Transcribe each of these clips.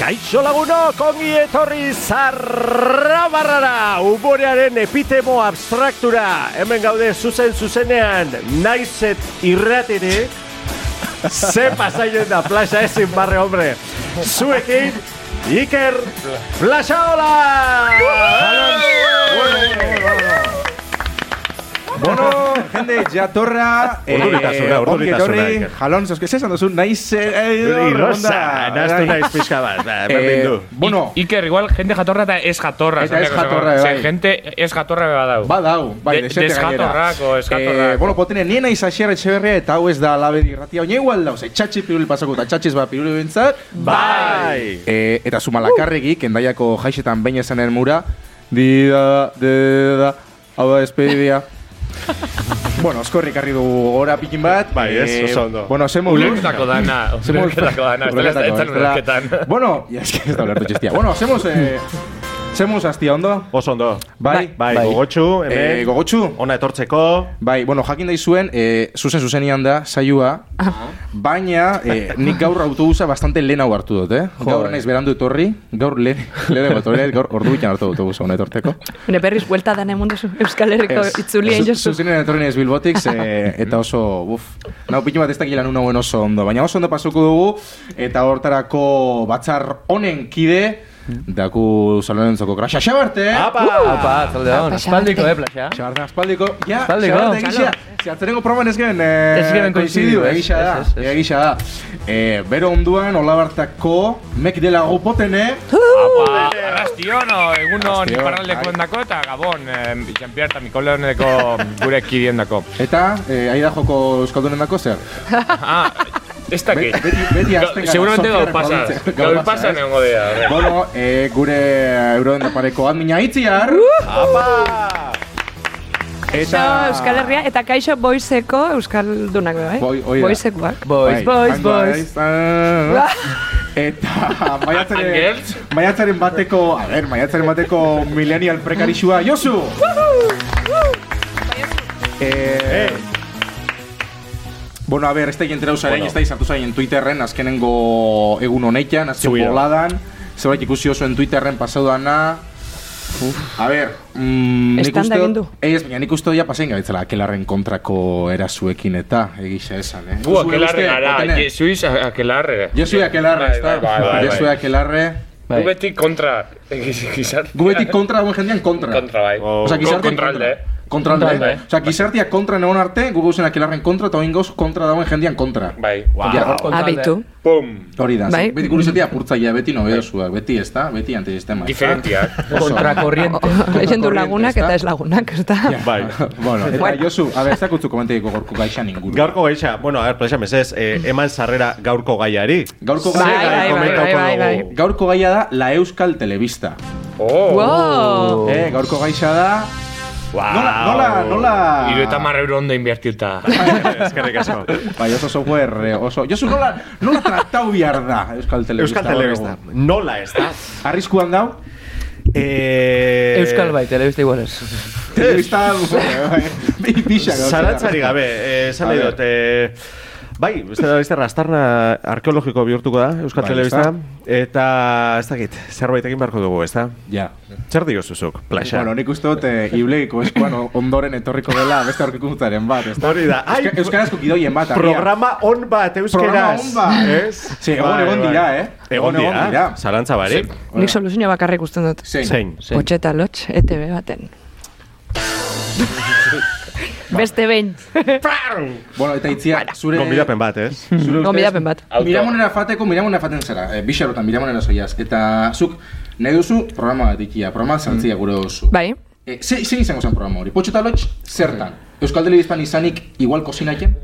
Kaixo lagunok ongi etorri zarra barrara, umorearen epitemo abstraktura, hemen gaude zuzen zuzenean, naizet irratire, ze pasaien da plaza ezin barre hombre, zuekin, Iker Plazaola! Bueno, jende, jatorra, eh, Urduritasuna, ongi urduritasuna, etorri, Iker. jalon, zeuske esan duzu, naiz... Irrosa, naztu naiz pixka bat, ba, Eh, berdin du. Bueno, I- Iker, igual, gente jatorra eta ez jatorra. Eta ez esan behar jatorra, zen. bai. Ze gente ez jatorra beba dau. badau, bai, De- desete gainera. deskatorrako, eskatorrako. Eh, bueno, potene, nien naiz asier etxeberria eta hau ez da alabe dirratia, oin igual dauz, etxatxe piruli pasako eta txatxiz bat piruli bintzat. Bai! Eh, eta zumalakarregik, endaiako jaixetan baina esanen mura, dida, dida, hau da despedidia. bueno, eskorrik harri dugu gora pikin bat. Bai, ez, Eh, oso ondo. Bueno, zen Ulertutako dana, ulertutako dana, ez dela ez da ez zen ulerketan. Bueno, ya es que ez da ulertu txestia. Bueno, hacemos eh hacemos astia ondo. Oso ondo. Bai, bai, bai. gogotxu, hemen, Eh, gogotsu. ona etortzeko, Bai, bueno, jakin daizuen, eh, zuzen zuzenian da, saioa, baina eh, nik gaur autobusa bastante lehenago hartu dut, eh? Gaur naiz berandu etorri, gaur lehen, lehenago etorri, naiz, gaur ordu bitan hartu dut autobusa hona etorteko. Gure berriz buelta dan emundu zu- Euskal Herriko Ez. itzulien Zu- jozu. Zuzenean etorri naiz Bilbotik, ze, eh, eta oso, buf, nau pitu bat ez dakilan una buen oso ondo, baina oso ondo pasuko dugu, eta hortarako batzar honen kide, daku salonentzoko kra, xaxabarte! apa! Apa, atzalde hon, espaldiko, eh, plaxa. Xabarte aspaldiko, ja, Aspaldiko. xabarte egisa, ziartzeneko programan ez garen, eh, Ez garen koinzidiu, ez, egisa da, ez, ez, ez. egisa da. Eh, bero onduan, olabartako, mek dela gupotene, Apa, arrastiono, egunon Arrastion, iparraldeko bai. endako eta Gabon, eh, Jean-Pierre eta Mikole honeko gure kidiendako. eta, eh, aida joko euskaldunen dako zer. Ah, ez dakit. Beti, beti azten gara, Seguramente gau zortzigarren pasa. probintzia- Gau pasa nengo dea. Bueno, eh, gure euroen pareko admina itziar. Apa! Kaixo Euskal Herria eta kaixo boizeko Euskaldunak be, bai? Boi- hoi da. Boizekoak. Bai, Boiz, boiz, and boiz. ah. Eta And maiatzaren, girls? maiatzaren bateko, a ber, maiatzaren bateko millennial prekarixua, Josu! eh, Bueno, a ver, ez da jentrau zaren, ez da izartu zaren Twitterren, azkenengo egun honeitan, azken Subida. boladan, zerbait ikusi osoen Twitterren pasau dana, A ber, mm, nik Eztanda uste egin dut- du. Ez, baina nik uste doia pasein gabetzela, kelarren kontrako erasuekin eta egisa esan, eh? Bu, Zure akelarre uste, gara, Otene? Jesuiz akelarre. Jesui Akelarre, Bai, ez da? bai, bai, bai. Jesui Akelarre... Gu beti kontra gizartea. Gubetik kontra, guen jendean kontra. Kontra, bai. Oh. Osa, gizartean Kontralde, eh? kontra. Kontralde. Kontralde. Osa, gizartia kontra neon arte, gu gauzen Akelarren kontra, eta oin gauz kontra dauen jendean kontra. Bai. Wow. Ja, Abitu. Pum. Hori da, Bai. bai. beti kurizatia purtzaia, beti nobedosuak, beti ez da, beti antisistema. ez da? Diferentiak. Kontrakorriente. Lehendu Kontrakorriente, lagunak eta ez ez lagunak, ez da? Bai. bueno, eta Bueno. Josu, a ber, ez dakutzu komentiko gorko gaixan inguru. Gaurko gaixa, bueno, a ver, plesa mesez, eh, eman sarrera gaurko gaiari. Gaurko Bai, gaia, bai, bai, bai, bai, bai. gaurko gaia da La Euskal Telebista. Oh. Wow! Eh, gaurko gaixa da... Wow. Nola, nola, nola... Iru eta marra euro ondo invertiuta. Eskerrik asko. Bai, oso software eh, oso... Josu, nola, nola tratau behar da Euskal Telebista? Euskal Telebista. gaur egun? Nola ez da? Arriskuan dau? Eh, Euskal bai, telebista igual ez. Telebista... bai. Bixa, gauza. Zalantzari gabe, eh, esan A nahi ber. dut, eh, Bai, beste da beste rastarna arkeologiko bihurtuko da, Euskal Bai, Telebista. Eta, ez dakit, zerbait egin beharko dugu, ez da? Ja. Zer diozuzuk, plaxa? Bueno, nik uste dut eh, ibleiko eskuan o- ondoren etorriko dela beste aurkikuntzaren bat, ez da? Hori da. Ai, Euska- Euskarazko gidoien bat, agian. Programa on bat, Programa euskeraz. on bat. Ez? Sí, egon- egon dira, eh? Egon Egon- egon dira. dira. Zalantza bari. Nik soluzio bakarrik usten dut. Zein. Zein. Potxeta lotx, ETV baten. Beste behin. Bueno, eta itzia, zure... Gonbidapen bat, ez? Zure Gonbidapen bat. Auto. Miramonera fateko, miramonera faten zara. E, Bixarotan, miramonera zoiaz. Eta zuk, nahi duzu, programa bat ikia. Programa zantzia gure oso. Bai. E, ze, zein izango zen programa hori? Potxo eta lotx, zertan? Euskal Telebistan izanik igual kosinaken?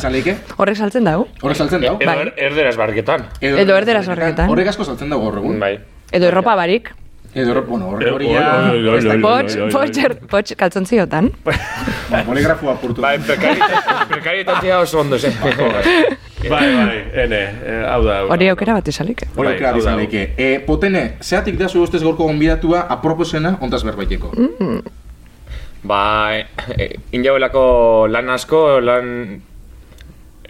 Izan lehike? Horrek saltzen dago. Horre saltzen dau? Edo er- erderaz barketan. Edo erderaz horreketan. Horrek asko saltzen dago gaur egun. Bai. Edo erropa barik. Edo horre, bueno, horre hori ja... Oi, oi, oi, ez da- oi, oi. Potx, potx, er- potx, kaltzontziotan. Ba, Poligrafoa Bai, apurtu. Bai, prekarietatea oso ondo zen. Bai, bai, ene, eh, hau da. hau da, hau Hori da. aukera bat esalik. Bai, Hori aukera hau da. bizan leike. E, potene, zeatik da zu ustez gorko gonbidatua aproposena ontaz berbaiteko. Ba, e, injauelako lan asko, lan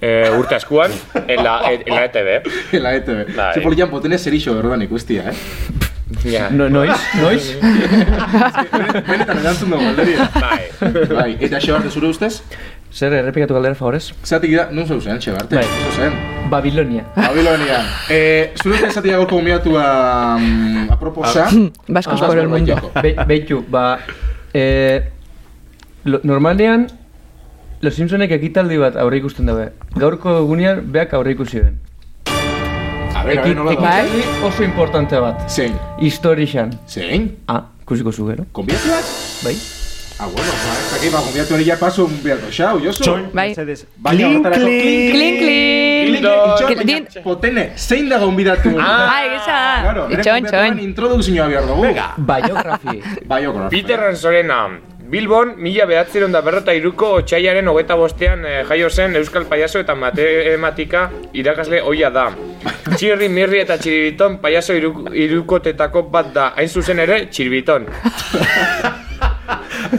e, urte askuan, en la, en la E ETV. Ela, ete, Bai. ze polian potene zer iso erdan ikustia, eh? Ja, No, noiz, noiz? Benetan erantzun dugu, alderi. bai. Bai, eta xebarte zure ustez? Zer errepikatu galdera favorez? Zeatik da, nun zeu zen, xebarte? Bai. Zeu zen. Babilonia. Babilonia. E, zure ustez zeatik da gorko gonbidatua mm, aproposa? Baskos Ah, por el mundo. berbaiteko. Be Beitu, ba... E, lo, normalean, Los Simpsonek ekitaldi bat aurre ikusten dabe. Gaurko egunean beak aurre ikusi ben. A ber, a ber, nola da? Bai. ekitaldi oso importante bat. Zein, Historixan. zein? Ah, ikusiko zu gero. Konbiatuak? Bai? Ah, bueno, ba, ez dakit, ba, konbiatu hori ja paso un biatu, xau, jozu. Bai. Baina, horretarako, klink, Klin, klin. Itxoin, Klin, din. baina, potene, zein da gonbidatu? Ai, gisa. Claro, nire Itxoin, konbidatuan itxoin. introduzioa behar dugu. Venga. Biografi. Baiokora. Peter Sorena, Bilbon, mila behatzeron da berrota iruko otxaiaren hogeta bostean eh, jaio zen Euskal Paiaso eta Matematika irakasle oia da. Txirri, mirri eta txiribiton paiaso iru- irukotetako bat da, hain zuzen ere txiribiton.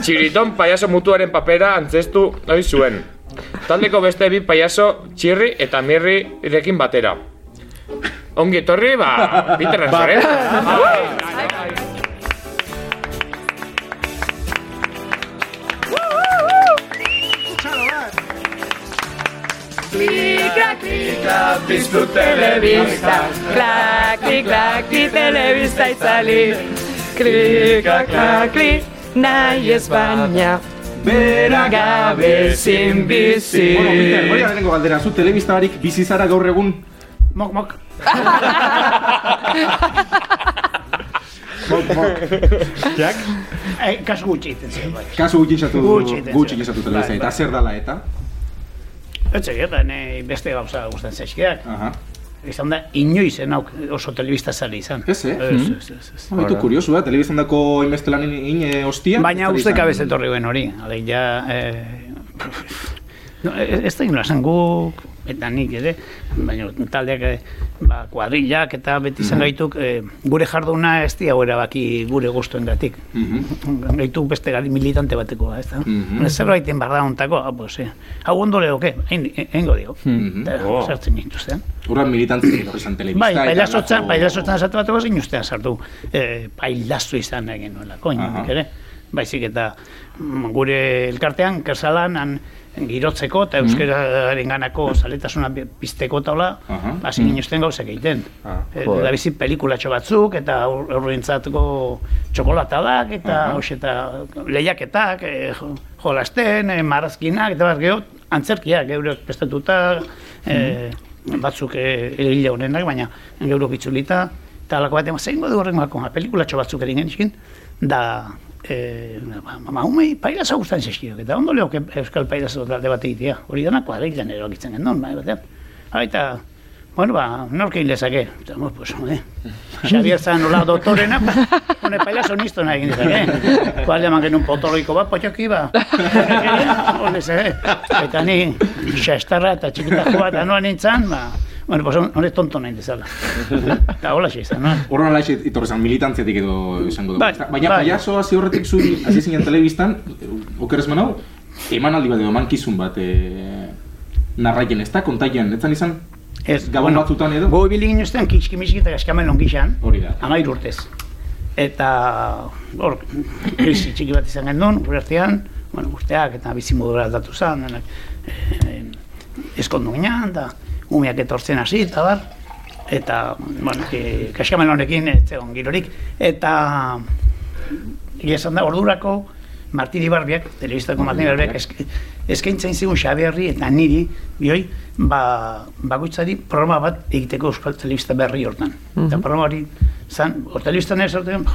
Txiriton paiaso mutuaren papera antzestu ohi zuen. Taldeko beste bi paiaso txirri eta mirri irekin batera. Ongi etorri, ba, Peter Sorena. Biztu telebista, klaki, klaki, telebista itzali, klika, klaki, nahi Espainia, bera gabe zin bizi. Bueno, Peter, hori da lehenengo galdera, zu telebista barik bizi zara gaur egun? Mok, mok. mok, mok. Eh, kasu gutxi egiten zen, bai. Kasu gutxi izatu, Gutxi egiten gutxi zera. izatu telebista, Bai, eta bai. zer dala eta? Etxe gerra, ne, beste gauza gustatzen zaizkidak. Aha. Izan da, inoiz ez nauk oso telebista zale izan. Ez, eh? Ez, ez, ez, ez. Baitu kuriosu da, telebizan dako inbeste lan ine ostia. Baina zer uste izan? kabez etorri guen hori. Alek, ja... Eh, no, ez ez da ginola esan guk, eta nik ere, baina taldeak, eh, ba, kuadrillak eta Mhm. beti izan gaituk, eh, gure jarduna ez diau erabaki gure guztuen gatik. Mhm. Gaitu beste gari militante batekoa, ez da? Mhm. Zerbait enbarra ontako, ah, pues, eh, hau ondo lehoke, hengo dio. Mhm. Eta Oh. Sartzen nintuzten. Horren militantzia etorri zan telebista. Bai, eta pailazotzan, halako- pailazotzan sartu bat egin ustean sartu. E, pailazo izan nahi genuelako, Aha. inondik ere. Baizik eta mm, gure elkartean, kersalan, han girotzeko Mhm. eta euskararen ganako zaletasuna bi- pizteko taula, Aha. Mhm. hasi ginuzten gauzak egiten. Ah, Eh, joder. Da bizi pelikulatxo batzuk, eta aurrentzatuko txokolatalak, eta hoxe, eta lehiaketak, eh, jo- jolasten, eh, marrazkinak, eta bat geho, antzerkiak, geure prestatuta, eh, batzuk eh, hile honenak, baina geuro bitzulita, eta alako bat, zein godu horren makon, pelikulatxo batzuk egin genizkin, da, eh, ba, ma humei pairaza guztan zeskidok, eta ondo lehoke euskal pairaza talde bat egitea, hori dana kuadrilan erokitzen gendon, bai batean. Hau eta, Bueno, ba, nork egin lezake. Eta, bueno, pues, eh. Xavier zan nola doktorena, hone paila sonisto nahi egin eh? lezake. Kual jaman genuen potologiko bat, potxoki ba. Hone ze, eta ni xastarra eta txikita joa eta noa nintzen, ba, bueno, pues, hone tonto nahi dezala. Eta hola xe izan, no? Horren ala etorri zan militantziatik edo izango dugu. Bai, ezta? Baina bai. pailazo hasi horretik zu hasi zinen telebistan, okeres manau, emanaldi bat edo emankizun bat eh, narraien ez da, kontaien, etzan izan? Ez, Gabon batzutan edo? Goi biligin ustean, kitxki-miski eta kaskamen ongixan. Hori da. Amair urtez. Eta hor, krisi txiki bat izan gendun, gure artean, bueno, urteak eta bizimodura aldatu zan, denak, eh, eskondu ginean, da, umeak etortzen hasi, eta bar, eta, bueno, e, kaskamen honekin ez zegoen girorik, eta egia esan da, ordurako, Martini Barbiak, telebistako Martini Barbiak, esk- eskaintzen zigun Xabierri eta niri, bioi, ba, bakoitzari programa bat egiteko Euskal Telebista berri hortan. Eta programa hori, zan, hor telebistan ez horten,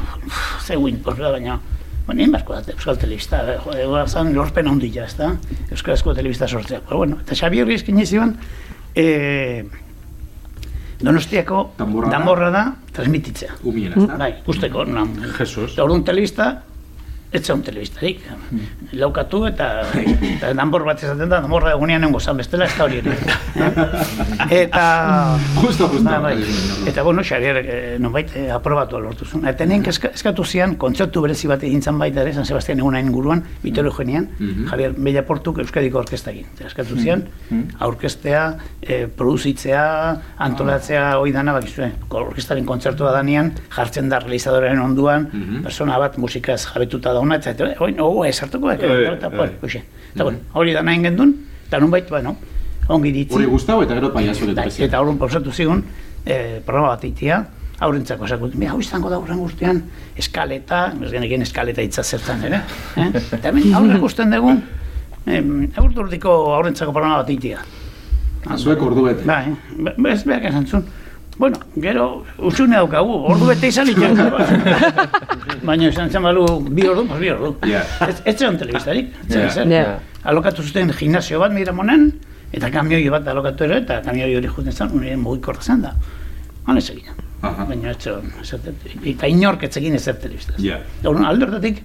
zegoen, horrela baina, Bueno, egin beharko da, Euskal Telebista, eh, jo, egoa zan lorpen handia, ez da, Euskarazko Telebista sortzea. Pero bueno, eta Xabierri eskaini zion, eh, Donostiako Danborrada. damorra da transmititzea. Umien, ez da? Bai, ikusteko, non. Jesus. Eta orduan telebista, ez zeon telebistarik. Laukatu eta, eta danbor bat esaten da, danborra egunean nengo zan bestela, ez da hori ere. eta... Justo, justo. Ba, bai. Eta, bueno, xarier, eh, nonbait, eh, aprobatu lortu zuen. Eta nien keska- eskatu zian, kontzertu berezi bat egin zan baita ere, San Sebastian eguna inguruan, Vittorio Eugenian, Javier Bellaportuk Euskadiko orkesta egin. Eta eskatu zian, aurkestea, eh, produzitzea, Ah. antolatzea, hoi dana, bakizue, orkestaren kontzertua danean, jartzen da realizadoren onduan, persona bat musikaz jabetuta dauna, eta, eta, oin, oh, esartuko, eta, Eh, Oi, eta, eta, oi. bueno, hoxe. Eta, bueno, hori dana egin duen, eta nonbait, bueno, ongi ditzi. Hori guztau eta gero paiazo Bai, eta horren pausatu zigun, eh, programa bat itia, aurrentzako esakut, mira, hau izango da aurren urtean, eskaleta, ez genekien eskaleta hitza zertan, ere? Eh? Eta hemen aurren ikusten dugu, em, aurturdiko aurrentzako programa bat itia. Ah, Zuek ordu bete. Bai, be- bez behar esan zuen. Bueno, gero, usune daukagu, ordu bete izan ditu. Baina esan zen balu, bi ordu, pues bi ordu. Ja. Ez, ez zegoen telebistarik, ez zegoen Ja. ezer. Ja. Alokatu zuten gimnasio bat Miramonen, eta kamioi bat alokatu ere, eta kamioi hori juten zen, nire mugikorra zen da. Han ez egin. Aha. Baina ez zegoen, ezer tele- eta inork ez egin ezer telebistaz. Ja. Eta orduan, alde hortatik,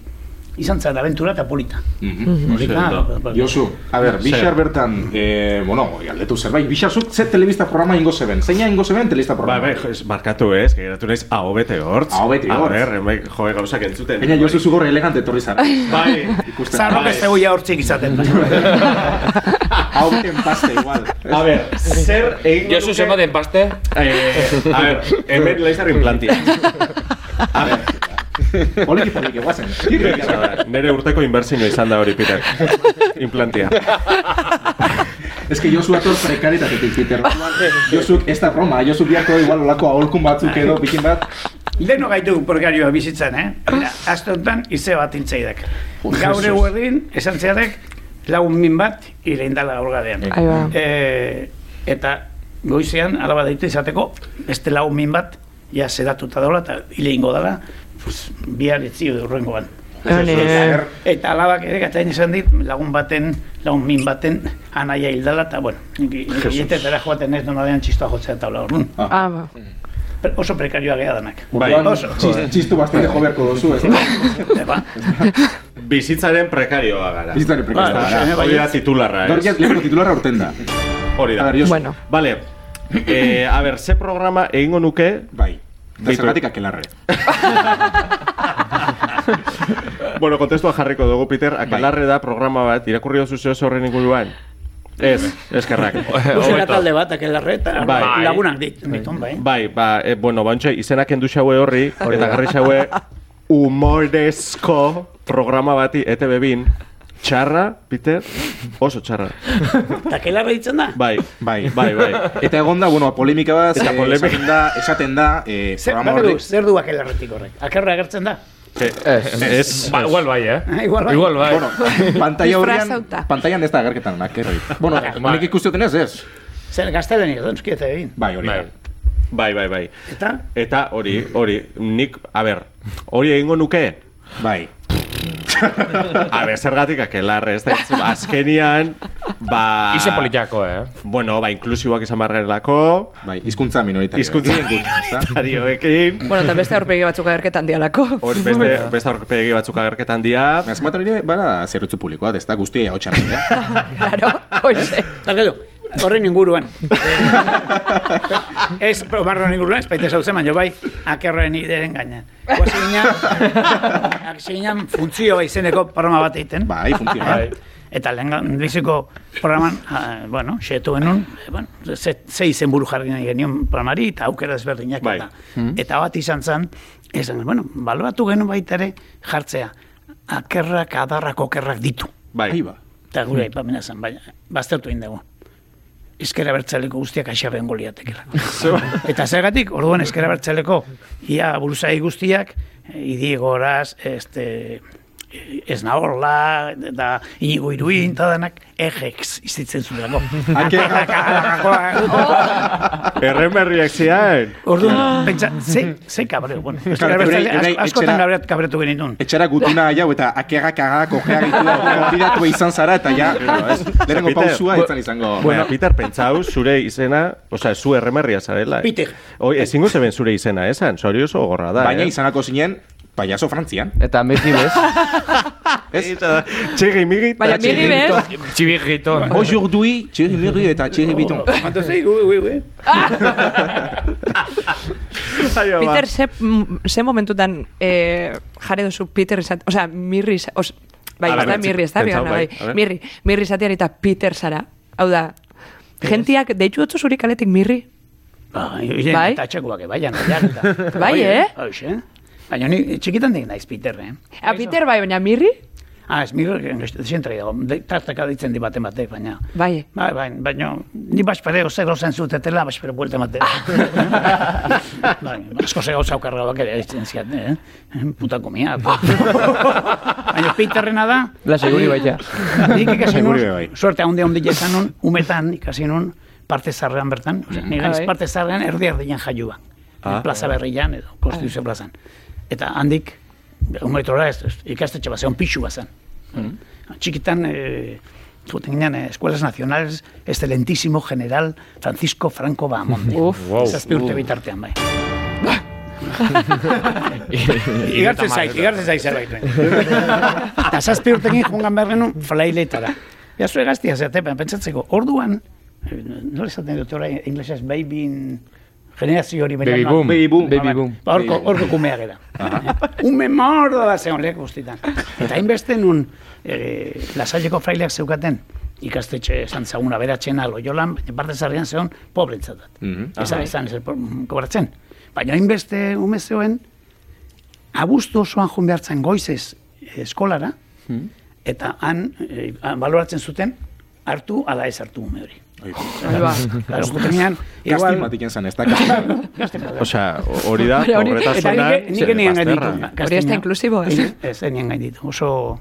izan zen aventura eta polita. Mhm. Polita, ba- Josu, a ber, Bixar bertan, eh, bueno, galdetu zerbait, Bixar zuk ze telebista programa ingo zeben, zeina ingo zeben telebista Ba, programa. bai, jo, ez, markatu ez, que geratu naiz aho bete hortz. Aho bete hortz. A ber, hemen, bai, jo, eh, gauzak entzuten. Baina Josu zugor elegante etorri zara. Bai, Ikusten. Zarrok ez dugu ja hortzik izaten. Hau beten pasta igual. a ber, zer egin Josu zenbaten paste? Eh, a ber, hemen laizarrin plantia. A ber, poliki poliki guazen. Nere urteko inbertsinoa izan da hori, Peter. Implantia. Ez que Josu ator prekaritatetik, Peter. Bai. Josuk ez da Roma, Josu biharko igual olako aholkun batzuk edo pikin bat. Leno gaitu porgarioa bizitzan, eh? Mira, Aste honetan ize bat intzaidak. Gaur eguerdin, esan zeharek, lagun min bat, ire indala gaur gadean. Ahí va. Eh, eta goizean, alaba deitu izateko, beste lagun min bat, ja sedatuta daula, eta hile ingo dala, pues, bihar etzio urrengo ban. Hone. Eta alabak ere gatain izan dit, lagun baten, lagun min baten, anaia hildala, eta bueno, jetetara joaten ez nonadean txistoa jotzea taula horren. Ah, ba. Oso prekarioa geha danak. Bai, Orduan, oso. txis- Txistu bastante jo beharko dozu, ez da? Eba. Bizitzaren prekarioa gara. Bizitzaren prekarioa Ba, gara. Hori da titularra, Dorkiak ez? lehenko titularra urten da. Hori A da. ber, Josu. Bueno. Vale, eh, a ber, ze programa egingo nuke Bai. Eta Bitu. zergatik akelarre. Bueno, kontestua jarriko dugu, Peter, Bai. akelarre da programa bat, irakurri dozu zeo horren inguruan. Ez, eskerrak. Luzera talde bat, aquel arreta, Bai. lagunak dit, ditun, bai. Bai, ba, e, bueno, bantxe, izena kendu xaue horri, eta garri xaue humorezko programa bati ETV bin. Txarra, Peter, oso txarra. Eta aquel arretzen da? Bai, Bai. bai, bai. Eta egon da, bueno, polemika bat, Eta eh, polemika. esaten da, esaten da, eh, Zer, programa zer du, horrek. zer du aquel arretik horrek? Akerra agertzen da? Eh, Ez, Ba, igual bai, eh? Ah, igual bai. Igual bai. Bueno, pantalla horrean, Disfrazauta. pantailan ez da agerketan onak, erroi. Bueno, Bai. nik ikusten ez, ez. Zer, gaztelen egin, eta egin. Bai, hori. bai. da. Bai, bai, bai. Eta? Eta hori, hori, nik, a ber, hori egingo nuke? Bai. A ber, zergatik akelarre, ez da, azkenian, ah. ba... Ize politiako, eh? Bueno, ba, inklusiboak izan barrelako, Bai, hizkuntza minoritaria. izkuntzien gutaritarioekin, Bueno, eta beste aurpegi batzuk agerketan dialako. hor beste, Bai. beste aurpegi batzuk agerketan dira, Azmat hori ere, bada zerrutzu publikoa, ez da guztia hau txarra. Claro, hoxe. Eta gero, horren inguruan. ez, barroan inguruan, ez baita zauzen, baina bai, akerren ideren gainean. Guazi ginen, hasi ginen funtzio izeneko programa bat egiten. Bai, funtziona. Bai. Eta lehen biziko programan, ah, bueno, xetuen nun, eh, bueno, ze, ze izen buru jarri nahi genion programari, eta aukera ezberdinak Bai. eta. Eta bat izan zen, esan, bueno, baloratu genuen baita ere jartzea, akerrak, adarrak, okerrak ditu. bai, Ahí va. Eta gure aipamena zen, baina, baztertu egin dugu. Ezkera bertzaleko guztiak aixabean goliatekela. ba- Eta zergatik, orduan ezkera bertzaleko, ia buruzai guztiak, eh, idi goraz, este, eh, ez nahorla, eta inigo iruin, eta danak, ejex izitzen zuelako. erremerriak zian, Orduan, pentsa, ze, ze kabreo, bueno, ezkera Claro, eurei- bertzale, eurei ask- askotan etxera- kabreat- kabretu genitun. Etxera gutuna hau eta akerrak agak ojeak ditu konbidatu izan zara eta ja, lehenengo Peter. pausua izan izango. Bueno, Peter, pentsau, zure izena, osea, zu erremerria zarela. eh? Peter. Oi, ezingo zeben zure izena, esan, zorioso gorra da, baina eh? izanako zinen Paiaso Frantzian. Eta Messi bez. Txegi, migi, Baina, miri bez, Txibirrito. Aujourd'hui, Thierry Murray eta Thierry Biton. Entonces, ui, ui, ui. Peter ze, mm, ze momentutan eh, jarri duzu Peter izat, osea, mirri, iza- os, bai, A ez ber, da, mirri, ez da, pentsau, bigarrena, bai, a bai, ber. mirri, mirri izatean eta Peter zara, hau da, jentiak, deitu dutzu zuri kaletik mirri, Ba, ire, Bai. Eta txekoak, baian, baian. Bai, eh? Hoxe. Baina ni txikitan dik naiz Peter, eh? a Peter bai, baina mirri, Ah, ez mirro, zentra dago, de- tartaka ditzen di baten batek, baina. bai, Bai, bai, baina, ni baspere zero zen zutetela, baspere buelta matea. bai, asko ze gauza okarra ere ditzen ziat, eh? Puta komia. baina Peterrena da, La seguri baita. nik ikasi nun, Segure bai. suerte handi handi jezan nun, umetan ikasi nun, parte zarrean bertan, osea, nire Bai. Ah. naiz parte zarrean erdi erdian jaiua. plaza berrian edo, konstituzio plazan. Eta handik, un metrora ez, ez, ikastetxe bat, zeon pixu bat zen. Mm. Txikitan, eh, zuten ginen, eh, escuelas nacionales, excelentísimo general Francisco Franco Bahamonde. Uf. Zazpi urte bitartean, bai. Igartzen zait, igartzen zait zerbait. bai. Eta zazpi urtekin jungan behar genuen flailetara. Ja zure gaztia zeatepen, pentsatzeko, orduan, eh, nola esaten dut orain inglesez, baby in generazio hori Baby boom. Baby boom. Baby boom. Ba, horko, horko kumea gara. Ume mordo da zeon lehek guztietan. Eta hainbeste nun, eh, lasaieko fraileak zeukaten, ikastetxe esan zaguna beratxena loiolan, baina parte zarrean zeon, pobrentzat dat. Ezan, ezan, ez kobratzen. Baina hainbeste ume zeuen, abuztu osoan joan behar zen goizez eh, eskolara, Hmm. eta han, eh, han baloratzen zuten, hartu ala ez hartu ume hori. Ahí va. Claro, juten ginen, Kastin igual... bat ikan zan, ez da kastin. Osea, hori da, Baina hori- horretasunan... Eta nik- nik enien gain ditu. bazterra. Gaztina. Hori ez da inklusibo, eh? ez? Ni- Ez, enien gain ditu. Oso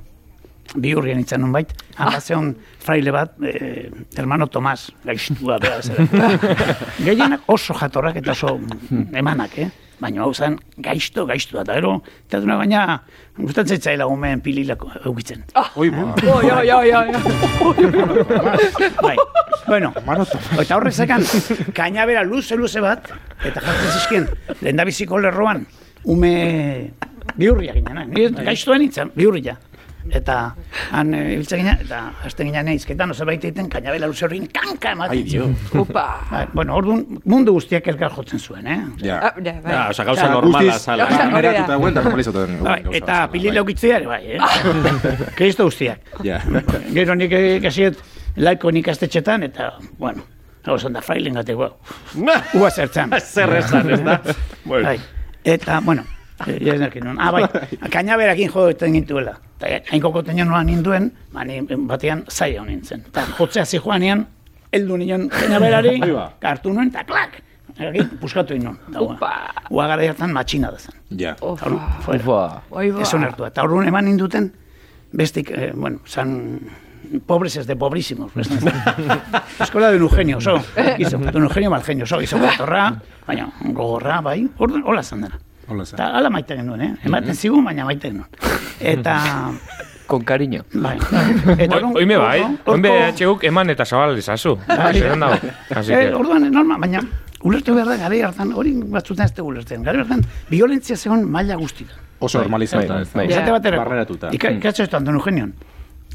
bihurrien itzan nun bait. Ah. Hamazion fraile bat, eh, hermano Tomás, gaiztua behar zera. Gehienak oso jatorrak eta oso emanak, eh? Baina hau zen, gaizto, gaiztua. Eta gero, eta duna baina, gustatzen zaila gomeen pililako eukitzen. oi, oi, oi, oi, Bai. Bueno, eta horrez ekan, kainabera luze luze bat, eta jartzen zizkien, lehendabiziko lerroan, ume bihurria ginen, eh? Ni ez- gaiztua nintzen, bihurria. Eta han e, ibiltzen ginen, eta hasten ginen izketan, zerbait egiten, kainabela luze horrekin kanka ematen. Ai, dio. upa. Bai, bueno, orduan mundu guztiak elkar jotzen zuen, eh? Ja. Ah, ja, bai. Ah, Osea, gauza normala zala. gauza- Kameratuta guen, eta normalizatzen guen. Bai, gauza eta bezala, pilila ukitzea ere, bai, eh? Kristo guztiak. bai. Ja. Gero nik eh, ikasiet laiko nik astetxetan, eta, bueno, hau zan da frailen gateko, ua zertzan. Zer esan, ez da? Bueno, Bai. Eta, bueno, eh, ja ez nerkin Ah, bai, kainaberakin jo eten gintuela. Eta eh, hain kokoten joan ninduen, ba, ni batean zaila honen zen. Eta jotzea zi joan nian, eldu nion kainaberari, Bai, ba. hartu nuen, eta klak! Egin, puskatu inon. Upa. Ua gara hartan matxina da zen. Bai. Ja. Uf, Eta, orduan, fuera. Ufa. oi, ba. Ez onartua. Eta orduan eman induten, bestik, eh, bueno, san pobres ez de pobrísimos. beste. Eskola de Eugenio, oso. Gizo, de Eugenio mal genio, oso. Gizo, gatorra, baina gogorra, bai. Orduan, hola zan dena. Hola zan. Eta ala maite genuen, eh? Mm-hmm. Ematen zigun, baina maite genuen. Eta... Con cariño. Bai. Eta orduan- Oime bai, orduan- oime orduan- atxeguk eman eta zabal dezazu. Bai. Zerren dago. Así Eh, que, orduan, norma, baina ulertu behar da gari hartan, hori batzutan ez da ulertzen. Gari hartan, violentzia zegoen maila guztita. Oso normalizatzen. Bai, bai. Hmm. Ja. Esate batera. Barneratuta. Ika, ikatzo estu Anton Eugenion.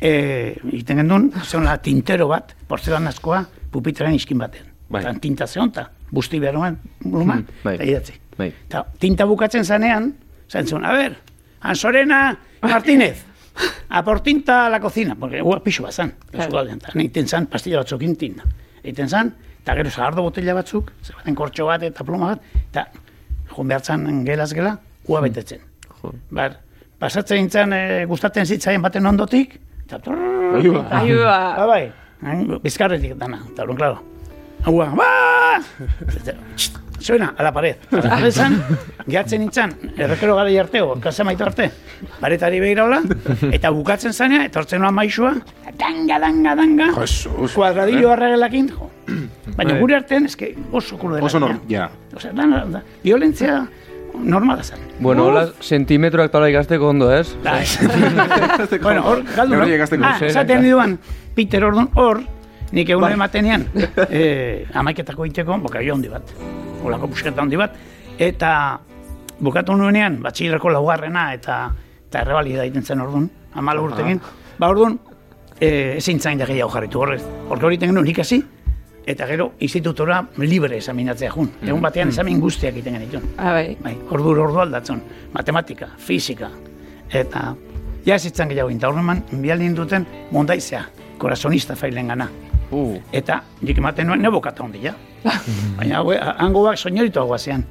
E, iten gendun, zeonla tintero bat, porcelanazkoa, pupitraren iskin baten. Bai. Tan tinta zeon, ta, busti behar nuen, luman, bai. eta idatzi. Bai. Ta, tinta bukatzen zanean, zan zuen, a ber, Ansorena Martínez, apor tinta a la cocina, porque ua pixu bat zan, claro. zugaldean, eta neiten zan, pastilla batzukin tinta. Eiten zan, eta gero zahardo botella batzuk, zebaten kortxo bat eta pluma bat, eta joan behar zan gelaz gela, Hmm. ua betetzen. Bar, pasatzen intzan, e, gustatzen zitzaien baten ondotik, eta trrrr, Bai, Aiua. ba, bai, hain, bizkarretik dana, eta orduan, klaro. Haua, ba! Txt, Suena, a la pared. Esan, gehatzen nintzen, errekero gara jarteo, kasa maitu arte, paretari behiraula, eta bukatzen zanea, etortzen noan maixua, danga, danga, danga, eh? kuadradillo arregelakin, jo. Baina gure artean, eske oso kulo Bai. dela. Oso norm, ja. Osea, dana, da, violentzia normala zen. Bueno, hola, sentimetroak tala ikasteko ondo, ez? Da, ez. bueno, hor, galdu, Neurri egazten Ah, gozen, esaten eta- duan, Peter orduan, hor, nik egun ematenean, eh, amaiketako iteko, boka handi bat, olako busketa handi bat, eta bukatu nuenean, batxilerko laugarrena eta eta errebalida egiten zen orduan, amal urtekin. Ba orduan, e, ezin zain da gehiago jarritu horrez. Horko hori tengen ikasi, eta gero institutora libre examinatzea jun. Egun batean examin guztiak egiten genitun. Ah, bai. Bai, ordu ordu aldatzen, matematika, fisika, eta ja ezitzen gehiago ginta. Horreman, bial ninduten mondaizea, korazonista failen gana. Uh, Eta nik ematen nuen nebokata hondi, ja. Baina hau, eh, hango bak soineritoa guazean.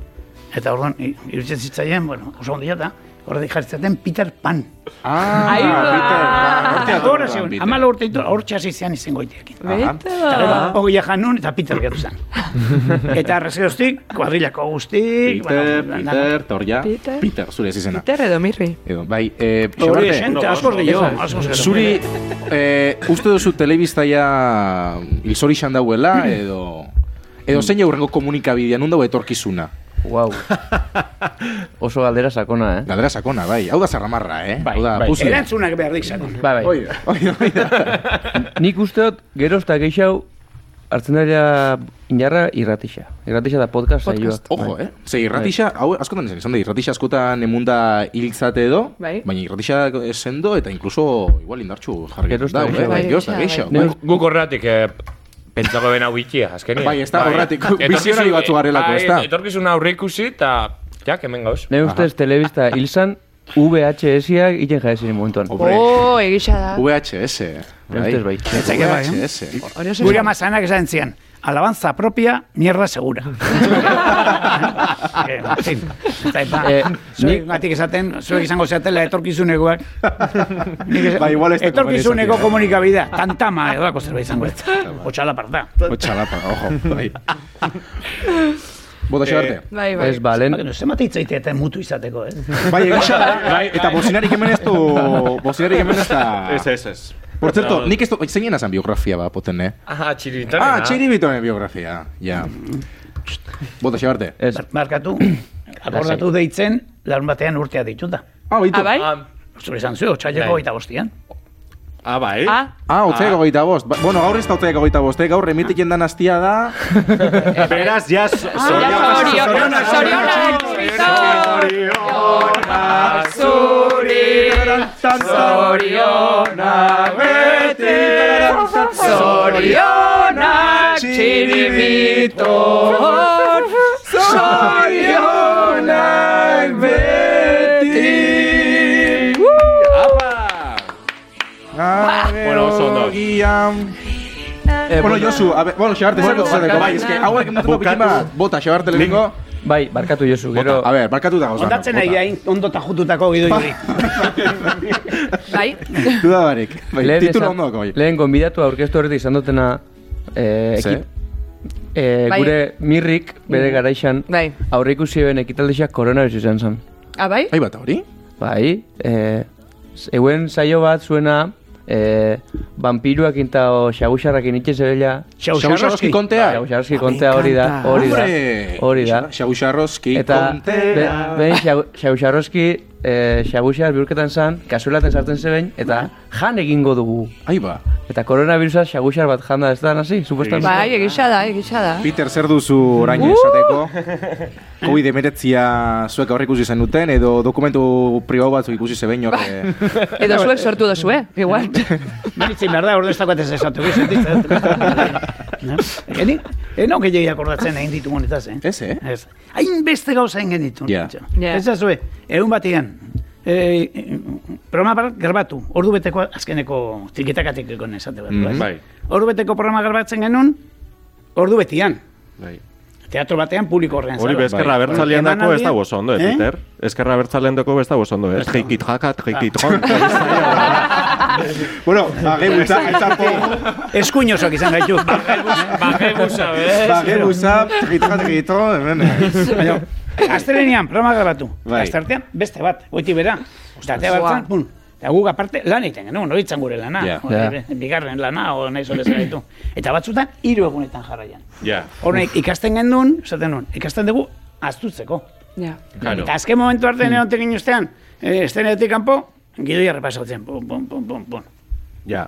Eta orduan, i- iruditzen zitzaien, bueno, oso hondi eta, horre jartzen Peter Pan. ah, Aiba! Peter Pan. Hor zegoen, Ah. Peter. amala urte ditu, hor txasi zean izango itekin. Beto. Ogia janun eta Peter gertu zen. eta arrezeroztik, kuadrilako guztik, Peter, bueno, Peter, eta hor ja. Peter. Peter, zure ez izena. Peter edo mirri. Edo, bai, eh, Hori Xabarte, esente, askoz gehiago, askoz gehiago. Zuri, eh, uste duzu telebistaia ilzori xan dauela, edo... Edo zein aurrengo komunikabidea, nun dago etorkizuna? Wow. Oso galdera sakona, eh? Galdera sakona, bai. Hau da zarramarra, eh? Bai, Hau da, bai. puzle. Erantzunak behar dik zaten. Bai, bai. Hoi da, hoi da, hoi da. Nik uste dut, geroz eta gehiago, hartzen dira inarra irratixa. Irratixa da podcast saioa. Bai. Podcast. Ojo, eh? Ze irratixa, hau askotan izan, izan da, irratixa askotan emunda hiltzate edo, Bai. baina irratixa sendo eta inkluso igual indartsu jarri Geroz da, eta eh? gehiago. Bai, geroz da, Bai, gehiago. bai. Bai. Guk horretik eh, pentsako bena wikia, azkenean. Bai, ez da, horretik, Etorkizun- visionari batzu garelako, bai, ez da? Etorkizun aurreikusi eta, ja, kemen gauz. Ne ustez, telebista hilzan, VHS-iak iten jaia ziren momentuan. Oh, egisa da. VHS. Ustez bai. Zeke bai, eh? VHS. Hori oso Gure amazanak esan zian, alabanza propia, mierda segura. Eh, Martin, eta epa, Eh, ba, zuek nik- gatik esaten, zuek izango zeatela etorkizunekoak. Nik esan- Ba, igual ez da etorkizuneko komenizatia. komunikabidea, tantama edo dako zerbait izango ez. Otxala parta. Otxalapa, ojo, bai. Eh, Bota xabarte. Bai, bai. Ez, ba, lehen, Baina, zemate hitzaite eta mutu izateko, eh? ez? Bai, egisa da. Eta bozinarik hemen ez du... Bozinarik hemen ez da... Ez, ez, ez. Por cierto, nik ez du... Zeinen azan biografia ba, poten, eh? Ah, txiribitaren. Ah, txiribitonen biografia, ja. Bota xabarte. ez. Markatu, akordatu deitzen, larun batean urtea dituta. Ah, baitu. Ah, bai? Zure izan zu, otxaileko Bai. gaita bostian. Ah, bai. Ah, Ah, otzeak hogeita bost. Ba- Bueno, gaur ez da otzeak hogeita bost, eh? Gaur emitiken dan astia da... Beraz, ja... so- ja, zorionak- zorionak, zorionak, Vitor! Zorionak Zuri, zorionak beti zorionak, txirimitor, zorionak beti. Bueno, oso ondo. Gian... Eh, Bueno, Josu, a ver, bueno, xabarte, zer Bueno, gotzateko, bai, barkatu. eske, hauek ematuko Bukatu. pikin bat, bota, xabarte lehenko, Bai, barkatu Josu, bota, gero... a ver, barkatu da gozano, Ondatzen nahi hain ondota jututako gidoi hori. Bai, Duda barik, bai, Lehen titulu esan- ondo dago, bai. Lehen gonbidatu aurkeztu horretik izan dutena eh, Ze? ekip- eh, Bai. gure mirrik bere garaixan Bai. aurreikusi ben ekitaldexak koronavirus izan zen. ah, bai? Ahi bat, hori? Bai, eh, z- euen saio bat zuena eh, vampiruak inta o xagusarrak initxe zebela Xaguxarroski Xauxarroski. kontea? xagusarski kontea hori da, hori da, Bai, Hombre! hori da. Xaguxarroski Eta be- kontea. behin xau- xauxarroski eh, xagusar bihurketan zan, kasuelaten sartzen zeben, eta jan egingo dugu. Ahi ba, Eta koronavirusa xagusar bat janda ez da nazi, supuestan. Bai, egisa da, egisa da. Peter, zer duzu orain Uh! esateko? COVID-19 zuek aurre ikusi zen duten, edo dokumentu privau batzuk ikusi zebein Bai. horre... Edo zuek sortu dozue, igual. Benitzen behar da, ordu ez dagoetez esatu. Eni, eno gehiagia akordatzen egin ditu honetaz, eh? Ez, eh? Ez. Hain beste gauza egin genitun. Ja. Ja. Ez da zue, egun batian, eh, programa bat grabatu, ordu beteko azkeneko tikitakatik egon esate bat. Mhm. ez? Bai. Ordu beteko programa grabatzen genuen, ordu betian. Bai. Teatro batean publiko horrean. Hori zara. be, eskerra Bai. bertzalean dako ez dago oso ondo, eh, Eh? Peter? Eskerra bertzalean dako ez dago oso ondo, eh? Trikit jakat, trikit jon. Bueno, age buza, Bai. aitzapo, Eskuinosoak izan gaitu. Bajebusa, bez? age buza, trikitro, trikitro, hemen. Baina, Aztelenean, programa grabatu. Bai. Bai. Aztartean, beste bat, goiti bera. Datea bartzen, Ua. pun. Eta guk aparte lan egiten genuen, hori itzan gure lana. Ja. Hori, Ja. be- Bigarren lana, o nahi zole ditu. Eta batzutan, hiru egunetan jarraian. Ja. Horne, ikasten genuen, esaten nuen, ikasten dugu aztutzeko. Ja. Claro. Eta azken momentu arte mm. neontekin ustean, eh, estenetik kanpo, gidoia repasatzen, pum, pum, pum, pum, pum. Ja.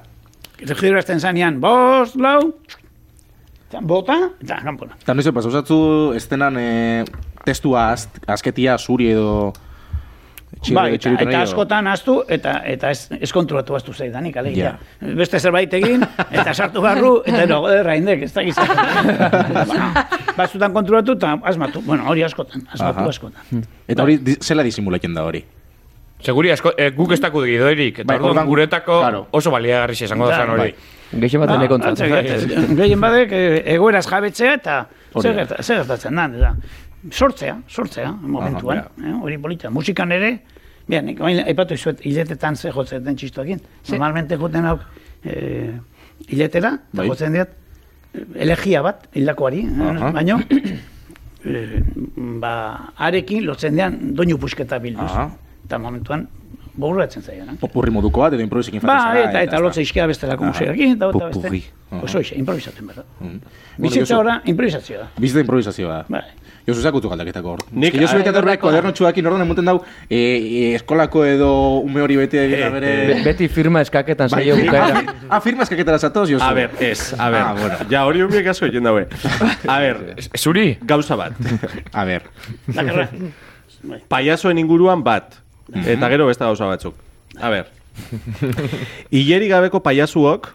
Eta gidoia azten zanean, bost, lau, eta bota, eta kanpona. Eta noiz epaz, osatzu, estenan... E, testua az, azketia zuri edo txirri- Bai, eta, txirritu nahi eta edo- askotan astu eta eta ez, ez konturatu astu zaidanik, alegia. Beste zerbait egin, eta sartu barru, eta ero, erraindek, ez da Batzutan konturatu eta asmatu, bueno, hori askotan, asmatu Aha. askotan. Hmm. Eta hori, di- zela disimulatzen da hori? Seguri asko, eh, guk ez daku gidoirik, eta Bai, orduan orduan- guretako Claro. Bai, oso baliagarri izango da Da, zan hori. Gehien Ah, bat ene kontratu. Ah, Atzak, ez- Gehien badek eh, egoeraz jabetzea eta zer gerta- zer gertatzen da, da. Sortzea, sortzea, momentuan, eh, hori polita. Musikan ere, Bien, nik oain aipatu izuet, hiletetan ze jotzen den txistoekin. Normalmente joten hauk eh, hiletera, eta Bai. jotzen diat, eh, elegia bat, hildakoari, eh, Aha. baino, eh, ba, arekin lotzen dean doinu pusketa bilduz. Aha. Eta momentuan, bururatzen zaian. Popurri moduko bat edo improvisekin Ba, faltatzen da, eta, ez eta da. lotza iskia bestelako Aha. musikarekin, eta eta beste. Popurri. Aha. Oso isa, improvisatzen behar. Mm. Bizitza Bueno, Josu- ora, improvisazioa. Bizitza improvisazioa. Bai. Josu zakutu galdaketako hor. Nik- Nik Josu Ah, bete atorreak koderno txuakin orduan emoten dau e, e, eskolako edo ume hori bete egin bere... Be- Beti firma eskaketan Bai, saio bukaera. Ah, firma eskaketara zatoz, Josu. A ver, eh. ez, a ver. Ah, bueno. Ja, hori umiek asko egiten daue. A ver, Zuri? gauza bat. A ver. Bakarra. Paiazoen inguruan bat. Eta gero beste gauza batzuk. A ver. Ileri gabeko paiazuok,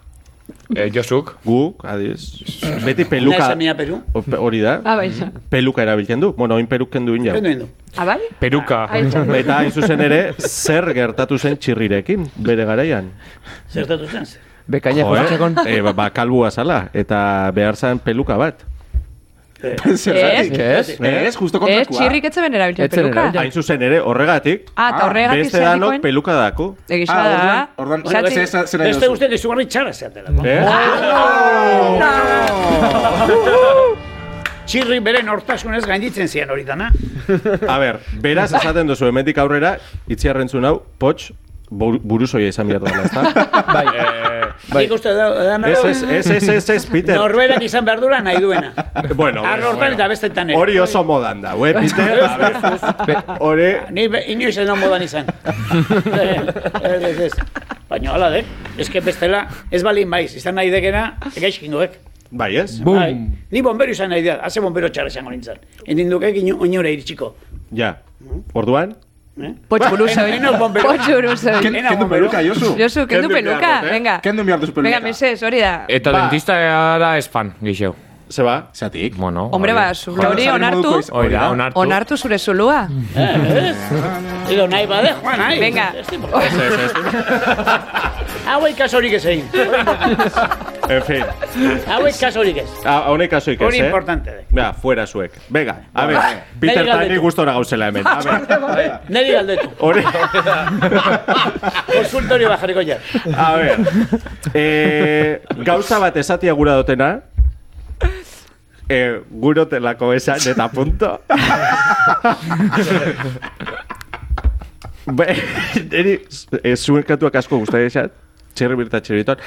Eh, Josuk? guk, adiz, beti peluka... Naiz amia Peru. Ope- Hori da, Ah, bai, ja. peluka erabiltzen du. Bueno, oin peruk kendu inau. Kendu indu. Ah, bai? Peruka. Ah, itxaso. Eta hain zuzen ere, zer gertatu zen txirrirekin, bere garaian. Zertatu zen zer. Bekaina Jo, eh? jokatzekon. Eh, ba, ba, kalbua zala, eta behar zen peluka bat. Eh, Ez, Ez? Eh, Ez, justo ez, kontrakua. Eh, txirrik etzen erabiltzen Etzen peluka. erabiltzen. Hain zuzen ere, horregatik, Ah, eta horregatik beste danok zeatikoen- peluka dako. Egisa Ah, da. orduan, orduan, Zati- zer- zer- zer nahi Beste duzu? guztiak izugarri txarra zeatelako. Eh? Ah, Oh! Oh. Txirri beren hortasunez gainditzen zian hori dana. A ber, beraz esaten duzu, hemendik aurrera, itziarrentzun hau, potx, bur- buruzoia izan behar dela, ezta? Bai. Bai. Nik uste da, dana Ez, ez, ez, ez, ez, ez, Peter. norberak izan behar duela nahi duena. Bueno, bueno, Arro hortan bueno. eta bestetan ere. Hori oso modan da, eh, Peter? A ber, Hori, Ni be- inoiz ez da modan izan. Eh, ez, ez, ez. Baina, hala dek, eske bestela, ez balin maiz, izan nahi dekena, gaizkingoek. bai ez? Bai. Ni bombero izan nahi da, haze bombero txarra izango nintzen. Endin dukek ino, oinora iritsiko. Ja, orduan? Eh? Potx buruza. En- eno bombero. Potx buruza. Ken- Ena- kendu peluka, Josu. Josu, kendu peluka, eh? venga. Kendu behar duzu Venga, peluka. meses, hori da. Eta dentista ara ez fan, gixeu. Se ba? Zatik. Bueno, Hombre, hori. ba, zulo hori onartu, Hori da, onartu. onartu zure zulua. Eh, ez? Edo nahi bade, joan, nahi. Venga. Ez tipo- Hau ikasorik ez egin. En fin, Hau ikasorik ez. a- a honek asoik ez, eh? Hori importante da. Ba, fuera zuek. Venga, a ver, Peter Venga, Tani galdetu. gustora gauzela hemen. A ver, Neri galdetu. hori... Konsultorio bajariko ja. A ver, eh, gauza bat esatia gura dutena, eh, gurotelako esan eta punto. Be, niri eh, zuekatuak asko guztai esat, txerri birta txerriton,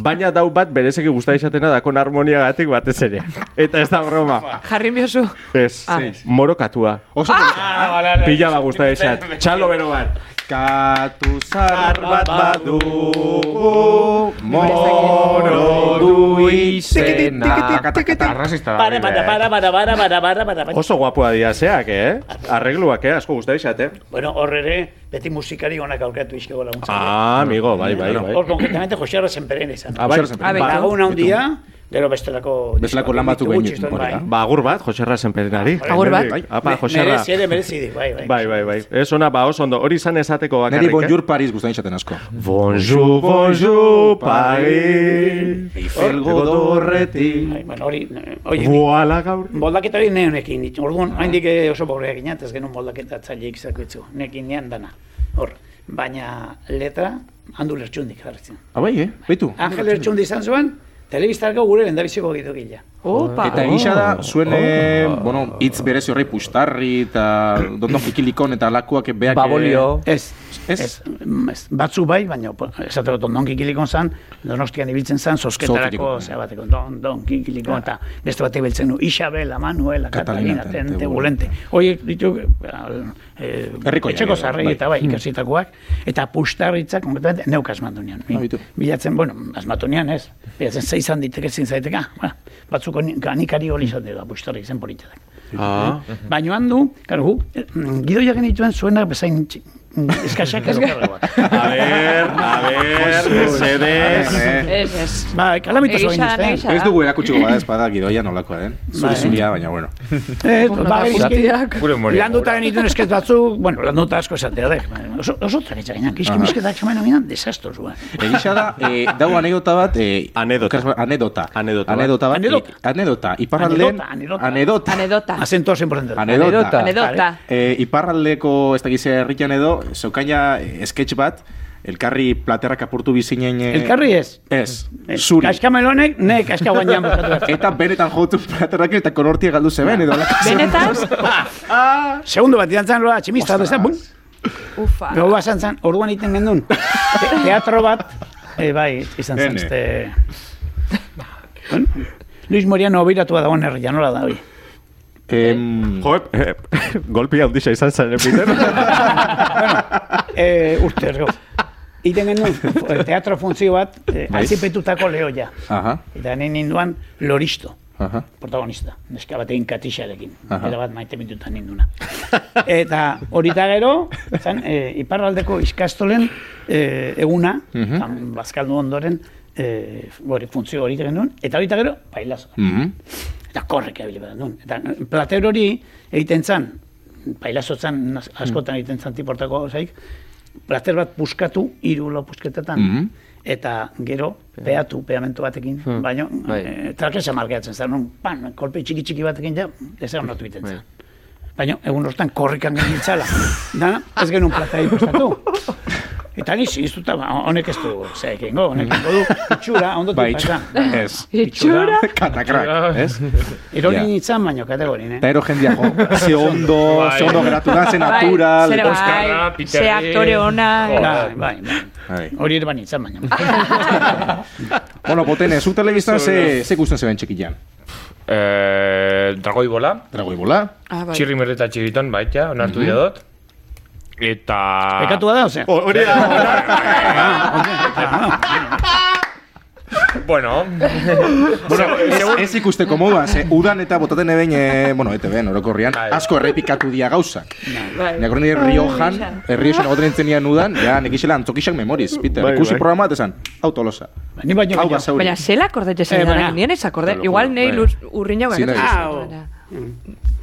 baina dau bat berezeki guztai esatena dakon harmonia gatik batez ere. Eta ez da broma. Jarri biozu. Ez, Ah. morokatua. Oso ah! Pila bat guztai esat. Txalo bero bat. Katu Zar bat badugu moro du izena. Arrasista Ba. da. hori, Para, para, eh. para, para, para, para, para, para, para. Oso guapoa dira zeak, eh? Arregluak, eh? Asko guztai izat, eh? Bueno, hor ere, beti musikari onak aurkatu izkego laguntza. Ah, amigo, bai, bai, bai. Hor, konkretamente, Jose Arra zenperen izan. Ah, bai. Zer zen? Bai. Laguna handia, gero bestelako... Bestelako lan batzuk Gutxi egin izan, hori da. bai. Ba, agur bat, Joserra zenperenari. Agur bat. Bai, Apa, Me- Joserra. Merezi ere, merezi di, bai, bai. Bai, bai, bai. Ez ona, ba, oso ondo. Hori izan esateko bakarrik, eh? Neri bonjour Paris guztain xaten asko. Bonjour, bonjour, Paris. Eiffel godorretik. Bai, bueno, hori, eh, hori, Buala gaur. moldaketa hori neonekin ditu. Orduan, haindik eh, oso pobreak inat, ez genuen moldaketa tzaile izakitzu. Nekin nian dana. Hor, baina letra, handu lertxundik jarritzen. Abai, eh? Beitu. Angel Ertxundi izan zuen, telebistarko gure lendabiziko gitokila. Opa. Eta egisa da, zuen, eh, Ah. bueno, hitz berezi horri pustarri, eta dondon kikilikon, eta lakuak beak... eh, Babolio. Ez, Ez? mm, ez. Batzu bai, baina po- esateko dondonki kilikon zan, donostian ibiltzen zan, sosketarako Zokirikon. zea bateko dondonki kilikon, eta beste bate biltzen du, Isabel, Manuela, Catalina, Catalina, Tente, Bulente. Horiek ditu, eh, Herrikoiak etxeko edo, zarri bai. eta bai, ikasitakoak, eta puxtarritzak, konkretamente, neuk asmatu nian. Bi- Ah, bitu. Bilatzen, bueno, asmatu nian, ez. Bilatzen, zei izan diteke, zein zaiteke, ah, ba, batzuk honi- anikari hori izate da, puxtarrik zen politetak. Ah, Baina handu, karo, gu, eh, mm, gidoia genituen zuenak bezain txi- mm, eskasak edo kargoak. a ber, a ber, mesedez. Eh, Ez, ez. Ba, kalamitu Egia zuen da, duzte. egia Ez dugu erakutsiko bada espada gidoia nolakoa den. Bai. Zuri-zuria, baina bueno. Ez, ba, Ba, Gure humorea. Landuta genituen eskez batzuk, bueno, landuta asko esatea da. Oso, oso traketxe gainan, kiski misketak xamena minan, desastrozua. Egisa da, eh, dago anedota bat... Eh, Anedota. okas- Anedota. Anedota bat. Anedota bat. Anedota. eh, Anedota. Iparraldean... Anedota, anedota. Anedota. Anedota. Azento oso importante. da. Anedota. Anedota. Eh, iparraldeko, ez dakiz herrian edo, zokaina eh, sketch bat, elkarri platerrak apurtu bizinen... eh, Elkarri ez. Ez, Ez, zuri. Kaskamelonek, Eh, ne, kaska guanean bukatu behar. Eta benetan jotu platerrak eta konortia galdu zeben, edo... halako zerbait. Benetan, Segundo bat, idantzan loa, tximista, Ostras. bezan, bum. ufa. Gau basan zan, orduan egiten gendun. Te- Teatro bat, eh, bai, izan zen, Ene. este... Bueno, Luis Moriano obiratua dagoen herrian, nola da, hori. Em, Jo, eh, golpi handisa izan zen, eh, Peter? Eh, urte ergo. Iten genuen, fu- eh, teatro funtzio bat, eh, azipetutako lehoia. Aha, Eta nien ninduan, loristo, aha. protagonista. Neska batekin katixarekin. Aha. Eta bat maite mitutan ninduna. Eta hori eta gero, zan, eh, iparraldeko iskastolen eh, eguna, mm bazkaldu ondoren, eh, hori funtzio hori egiten genuen. Eta hori eta gero, bailazo. Mhm. Eta korrek erabili behar nuen. Eta eh, plater hori egiten zan, pailazotzan naz- askotan egiten zan tiportako zaik, plater bat puskatu, hiru lau pusketetan, Mhm. eta gero peatu, peamentu batekin, baina Bai. e, trakesa markatzen zen, non, pan, kolpe txiki txiki batekin ja, ez egon notu egiten zen. Baina egun hortan korrikan genitzala. Dana, ez genuen platera ikustatu. Eta ni ziztuta, ba, honek ez du, zera ekingo, honek ekingo du, itxura, Bai, ondotik pasa. ez. Itxura. Katakrak, ez? Erori Ja. nintzen, baino kategorin, eh? Eta ero jendia jo, ze ondo, Bai. ze ondo geratu da, ze Bai, natural. zera Oskarra, bai, Peter ze Lee. aktore ona. Jo. Bai, bai, bai. Bai. Hori ere banitzen, baina. Bueno, potene, zu telebiztan ze, ze guztan zeben txikian. Eh, dragoi bola. Dragoi bola. Ah, bai. Txirri merri eta txiriton, baita, Mhm. onartu diadot. Eta... Bekatua da, ozea? Hori da, Bueno, Bueno, ez, ez ikusteko moduan, ze udan eta botaten ebein, e, bueno, ete ben, orokorrian, Bai. asko errepikatu dia gauzak. Bai. Nik horren dire Riojan, errioxen egoten entzenian udan, ja, nekixela antokixak memoriz, Peter. Bai, Ikusi bai. programa bat esan, autolosa. Ni baino Hau gehiago. basauri. Baina, zela akordetxe Eh, zen baina- dara, nien ez akorde. Te lo Igual juro, nei bai. luz urriña Zine gara. ez. Au.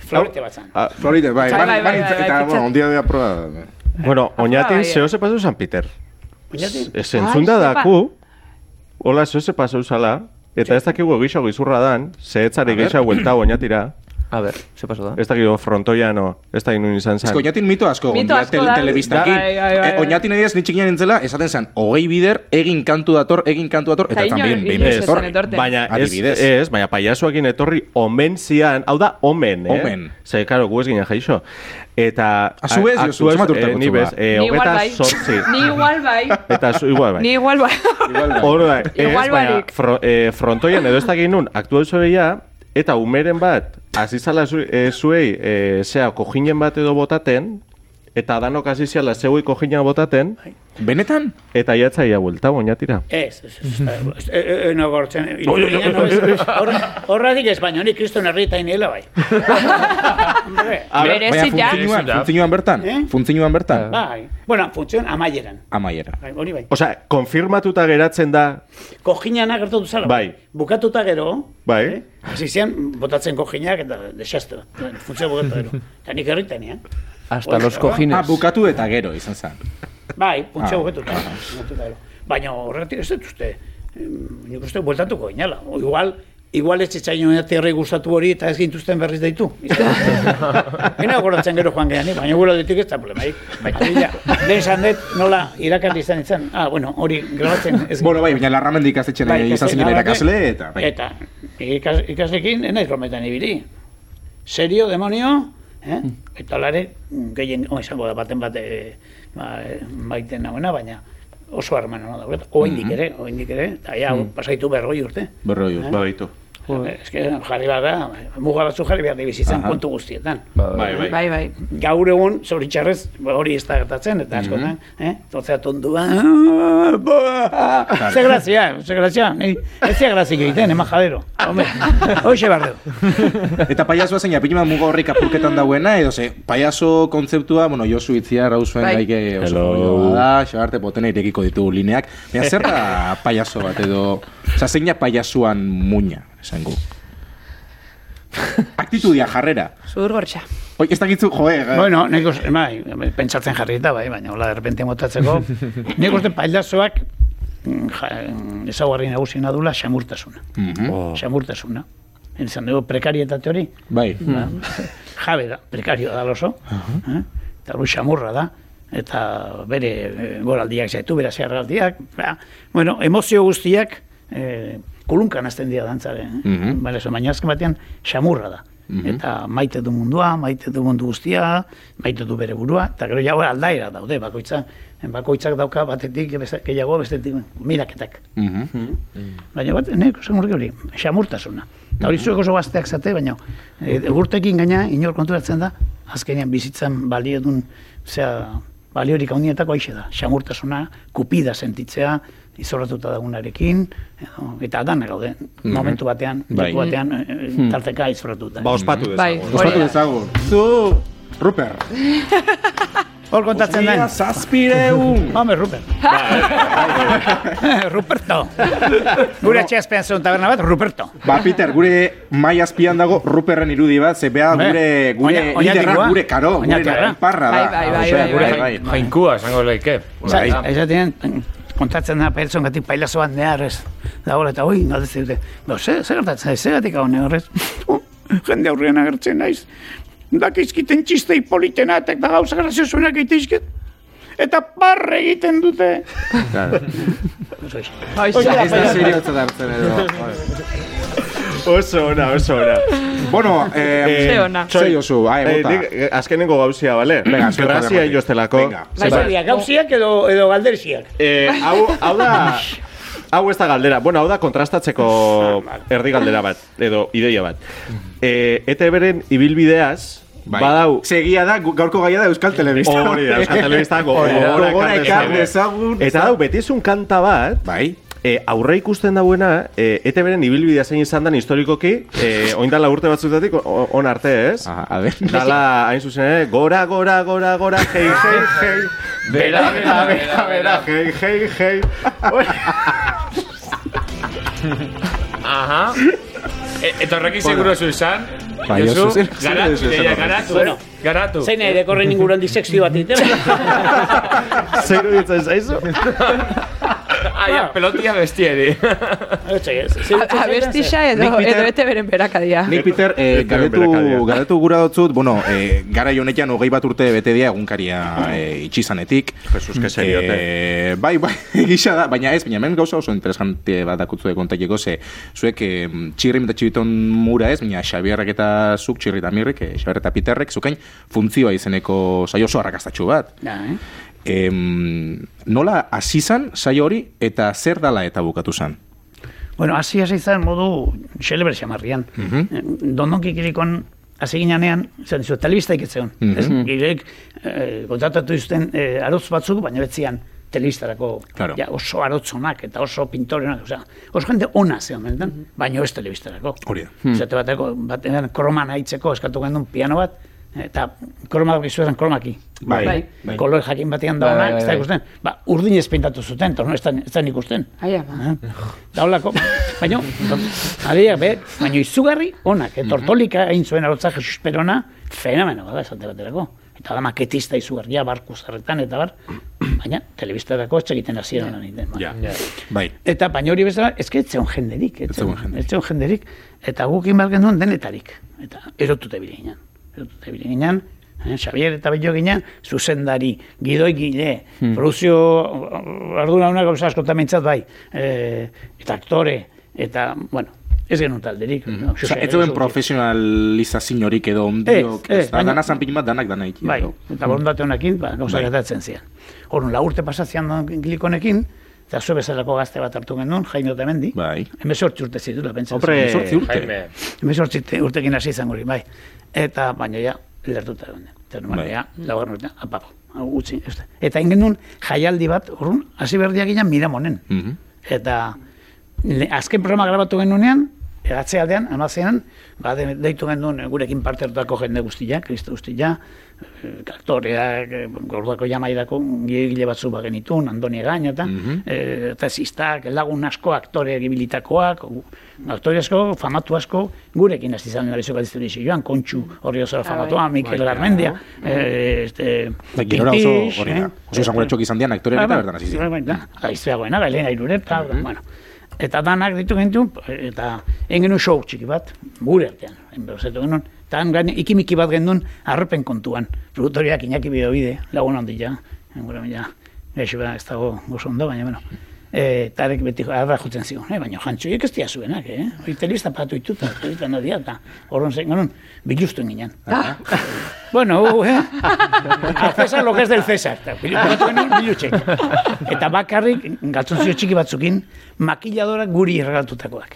Florete bat zan. Floride, bai, Bai, bai, bai, bai, bai, bai, eta, bai, bueno, pitxat. un dia de proba. Bueno, bai, eh. oñatin zeo se pasau San Peter. Oñatin? Ez entzunda Ai, daku, hola zeo se pasau zala, eta ez dakigu egisa gizurra dan, zehetzari gisa huelta oñatira, eh. A ver, se pasó ¿eh? da. ez dakigu frontoian, o, ez da inun izan Ez zan. que oinatin mito asko egon Mito dira asko tel- da. telebistakin. Bai, bai, bai, Eh, bai. Oinatin ediaz ni txikian entzela, esaten zen, hogei bider, egin kantu dator, egin kantu dator, eta Ta tan inor- bien, bien, inor ez ez etorri. zen etorten. Baina ez, Adibidez. ez, baina paiasuakin etorri omen zian, hau da omen, eh? Omen. Ze, karo, gu ez ginen jaixo. Eta... A zu ez, a- Josu, a zu ez, zenbat urte eh, Ni gutxi bez, ba? eh, Ni igual hogeta bai. sortzi. Ni igual bai. Eta zu, igual bai. Ni igual bai. Hor da, ez, Igual baina barik. fro, eh, frontoian edo ez dakin nun, aktu eta umeren bat, azizala zu, eh, zuei, eh, zea, kojinen bat edo botaten, eta danok azizala zeuei kojina botaten, Benetan? eta jatzaia buelta, oinatira. Ez, ez, ez, ez, ez, ez, no gortzen, irudian no ez, horra- horradik ez, baino, nik kriston herri eta inela bai. Hombre, Baina Berezi ja. funtzioan, Ja. funtzioan bertan, Eh? funtzioan bertan. Bai, bueno, funtzion amaieran, Amaiera. bai, hori bai. Osea, konfirmatuta geratzen da, Kojinan agertatu zara, Bai. Bukatuta gero, Bai. eh, hasi zian, botatzen kojinak eta desastre, bat. funtzio bukatu gero. Eta nik herritan, eh? Hasta los Ah, cojines. bukatu eta gero izan zen. Bai, Ah. puntxeo hobetuta. hobetuta gero. Baina horretik ez dut uste, em, nik uste bueltatuko inala. O, igual, igual ez etxaino aterri gustatu hori eta ez gintuzten berriz deitu. Hena goratzen gero joan gehan, baina gure aldetik ez da problemaik. Baina, lehen esan dut nola irakarri izan izan. Ah, bueno, hori grabatzen ez Bueno, bai, baina larramendi ikastetxen Bai, izan ikasle zinela nabate, irakasle, eta... bai. Eta ikas, ikaslekin, ez naiz brometan ibili. Serio, demonio, Eh? Hmm. Eta lare, gehien, oh, izango da baten bate, ba, baiten nagoena, baina oso harreman hona da, Hmm. oindik ere, oindik ere, eta ja, pasaitu berroi urte. Berroi Ba, urte. Bai. Baditu. Bai. Eske, jarri behar da, muga batzu jarri behar da bizitzan kontu guztietan. Bai, bai. Bai, bai. Gaur egun, zoritxarrez, ba, hori ez da gertatzen, eta askotan, eh? "Ah, Totzea tondua, ze grazia, ze grazia, ni- ez ze grazik egiten, ema jadero. Hombre, hoxe behar dugu. Eta paiazoa zein apinima muga horrik apurketan dauena, edo ze, paiazo kontzeptua, bueno, Josu itzia rauzuen Bai. gaike oso kontua da, xabarte potena irekiko ditugu lineak. Baina zer da paiazo bat edo, oza, zein da paiazoan muina, esango. Aktitudia, jarrera. Zur gortxa. Oi, ez dakitzu, joe, eh, Bueno, nik uste, bai, pentsatzen jarri eta, bai, baina, hola, derrepente motatzeko, nik uste pailazoak, mm, ja, ezaguarri nagusiena dula, xamurtasuna. Mm. Mhm. Oh. Oh. Xamurtasuna. Entzan dugu prekarietate hori, bai. Ba, jabe da, prekario da oso, eh? eta hori xamurra da, eta bere eh, goraldiak zaitu, bere zeharraldiak, ba, bueno, emozio guztiak eh, kulunkan azten dira dantzaren, eh? Mhm. Bale, zo, baina azken batean xamurra da. Eta maite du mundua, maite du mundu guztia, maite du bere burua, eta gero jau aldaera daude, bakoitza, bakoitzak dauka batetik, beste- gehiago bestetik, miraketak. Mhm. Baina bat, nek, esan horrek hori, xamurtasuna. Eta hori zuek oso gazteak zate, baina e, urtekin gaina inor konturatzen da, azkenean bizitzan baliodun, zea, baliorik handietako aixe da, xamurtasuna, kupida sentitzea, izorratuta dagunarekin, edo, eta dana gaude, momentu batean, Bai. leku batean, e, e, tarteka izorratuta. Ba, ospatu dezagun. Bai, Ospatu hori da. dezagun. Zu, Ruper. Hor kontatzen den, zazpireun. Hombre, Rupert. Bai. Ruperto. Gure etxe azpean zuen taberna bat, Ruperto. Ba, Peter, gure mai azpian dago Ruperren irudi bat, ze bea Hombre, gure, gure oina- liderra, oinatikoa. gure karo, gure Oinatiarra. iparra da. Bai, bai, bai, Hauxe, bai, gure bai. jai- Jainkua, esango leike. Osa, Bai. esatean, kontatzen da pertson gatik pailazoan neharrez, dagoela eta hoi, galdetzen dute, no, ze, ze gertatzen da, ze gatik hau neharrez, "Oh, jende aurrean agertzen naiz, dakizkiten txistei politena eta gauza graziosuenak egiteizket, eta parre egiten dute. Oso exe. Ez da seriotzat hartzen edo. Oso ona, oso ona. Bueno, eh, Ze ona. Zei oso, ae, Eh, bota. nik, eh, azkenengo gauzia, bale? Venga, azken Grazia joaten. jostelako. Venga. Bai, hori da, Gauziak edo, edo galderziak. Eh, hau, hau da... Hau ez da galdera, bueno, hau da kontrastatzeko erdi galdera bat, edo ideia bat. E, ETB-ren ibilbideaz, Bai. badau... Segia da, gu- gaurko gaia da Euskal Telebista. Hori da, Euskal Telebista go- Hori da. gogora Gogora ekar ekar dezagun. dezagun. Eta hau, betizun kanta bat, Bai. E, aurre ikusten dauena, e, ETB-ren ibilbidea zein izan den historikoki, e, oindala urte batzutatik o- on arte, ez? Aha, a ver. Dala, hain zuzen ere, gora, gora, gora, gora, hei, hei, hei, bera, bera, bera, bera, hei, hei, hei. Aha. E, eta horrekin seguro zu izan. Bai, Josu, oso zer- zer garatu, duzu esan ja, horrek? garatu, Bueno, garatu. Zein nahi dekorren inguruan disekzio bat egiten? Zer ditzen zaizu? Ah, ja, pelotia bestieri. Abestixa edo, Nik Peter- edo ete beren berakadia. Nik, Peter, eh, Etorri berakadia. galetu, galetu gura dotzut, bueno, eh, gara honetan hogei bat urte bete dia egunkaria eh, itxizanetik. Jesus, que seriote. Eh, bai, bai, gisa da, baina ez, baina hemen gauza oso interesante bat akutzu kontaileko, ze zuek eh, txirrim eta txibiton mura ez, baina Xabierrek eta zuk, txirri eta mirrek, eh, Xabier eta Peterrek, zukain funtzioa izeneko saio oso arrakastatxu bat. Da, eh? Em, nola hasi zan saio hori eta zer dala eta bukatu zan? Bueno, hasi hasi izan modu xelebre xamarrian. Mm Dondonki kirikon hasi ginean, zen dizu, telebista ikitzeon. Ez, girek eh, kontratatu izten eh, arotz batzuk, baina betzian telebistarako Claro. ja, oso arotzonak eta oso pintorenak, osea, oso jende ona zeon, benetan, baina ez telebistarako. Hori da. Zate bateko, batean kroman haitzeko eskatu gendun piano bat, eta kroma dago izuetan kromaki. Bai, Bai. Bai. Kolore jakin batean da Bai, ona, bai, ez da bai. ikusten. Ba, urdin pintatu zuten, eta no, ez da, ez da ikusten. Ai, ama. Eh? Daulako, baino, adia, be, baino izugarri onak, eh? tortolika egin zuen arotza Jesus Perona, fenomeno bada esate baterako. Eta da maketista izugarria, barku zarretan, eta bar, baina, telebistarako ez egiten hasiera lan egiten. ba. Bai. Eta baina hori bezala, ez que ez zeon jenderik, ez zegoen zeon jenderik. jenderik. jenderik, eta guk egin behar genuen denetarik. Eta erotute bile ginen. Erotute bile ginen, eh, Xavier eta Bello ginen, zuzendari, gidoigile, Hmm. produzio ardura una gauza askotan mintzat bai, eh, eta aktore, eta, bueno, Ez genuen talderik. Mm Hmm. Osa, ez zeuen profesionalizaziorik edo ondiok, Ez, ez, ez, da, baina- dana zanpik bat danak danaik. Bai, edo. eta borondate honekin, ba, gauza Bai. gertatzen zian. Horren, la urte pasazian glikonekin, eta zu bezalako gazte bat hartu genuen, jaino eta mendi. Bai. Hemezortzi urte zitula, pentsa. Hombre, Zortzi urte. Jaime. Hemezortzi te- urtekin hasi izan gori, bai. Eta baina ja, lertuta egon. Eta normal, Bai. ja, laugarren urtean, apapo, hau utzi. ez da. Eta egin genuen jaialdi bat, horren, hasi berdiak ginen miramonen. Mhm. Eta le- azken programa grabatu genuenean, egatze aldean, amazean, ba, de, deitu genuen eh, gurekin parte hartutako jende guztia, kristo guztia, eh, aktoreak, eh, gorduako jamaidako gile batzu ba genitun, Andoni Egain eta, Mhm. eh, eta zistak, lagun asko, aktoreak ibilitakoak, gu- aktore asko, famatu asko, gurekin hasi izan dira bezuka dizte joan, kontxu horri oso famatua, Mikel Bai, Garmendia, eh, este, Da, gerora Pitix, Bai, oso hori eh, da. Oso esanguratxok izan dian aktoreak Ah, eta bai, bertan hasi bai, ziren. Mhm. bai, da. Aizteagoena, gailena irureta, bueno. Eta danak ditu gentu, eta egin genuen show txiki bat, gure artean, enberozetu genuen. Eta han gaine, ikimiki bat genuen, arrepen kontuan. Produktoriak inaki bidobide, lagun handi ja, gure mila, gaixo ba, ez dago gozo ondo, baina, bueno. E, tarek beti arra jutzen zion, eh? baina jantxoiek ez dia zuenak, eh? Hori telebista patu ituta, telebista nodia, eta horren zen genuen, bilustuen ginen. Bueno, uh, eh? Al César lo que es del César. Eta pilotatu genuen bilutxek. Eta bakarrik, galtzonzio txiki batzukin, makilladorak guri irregatutakoak.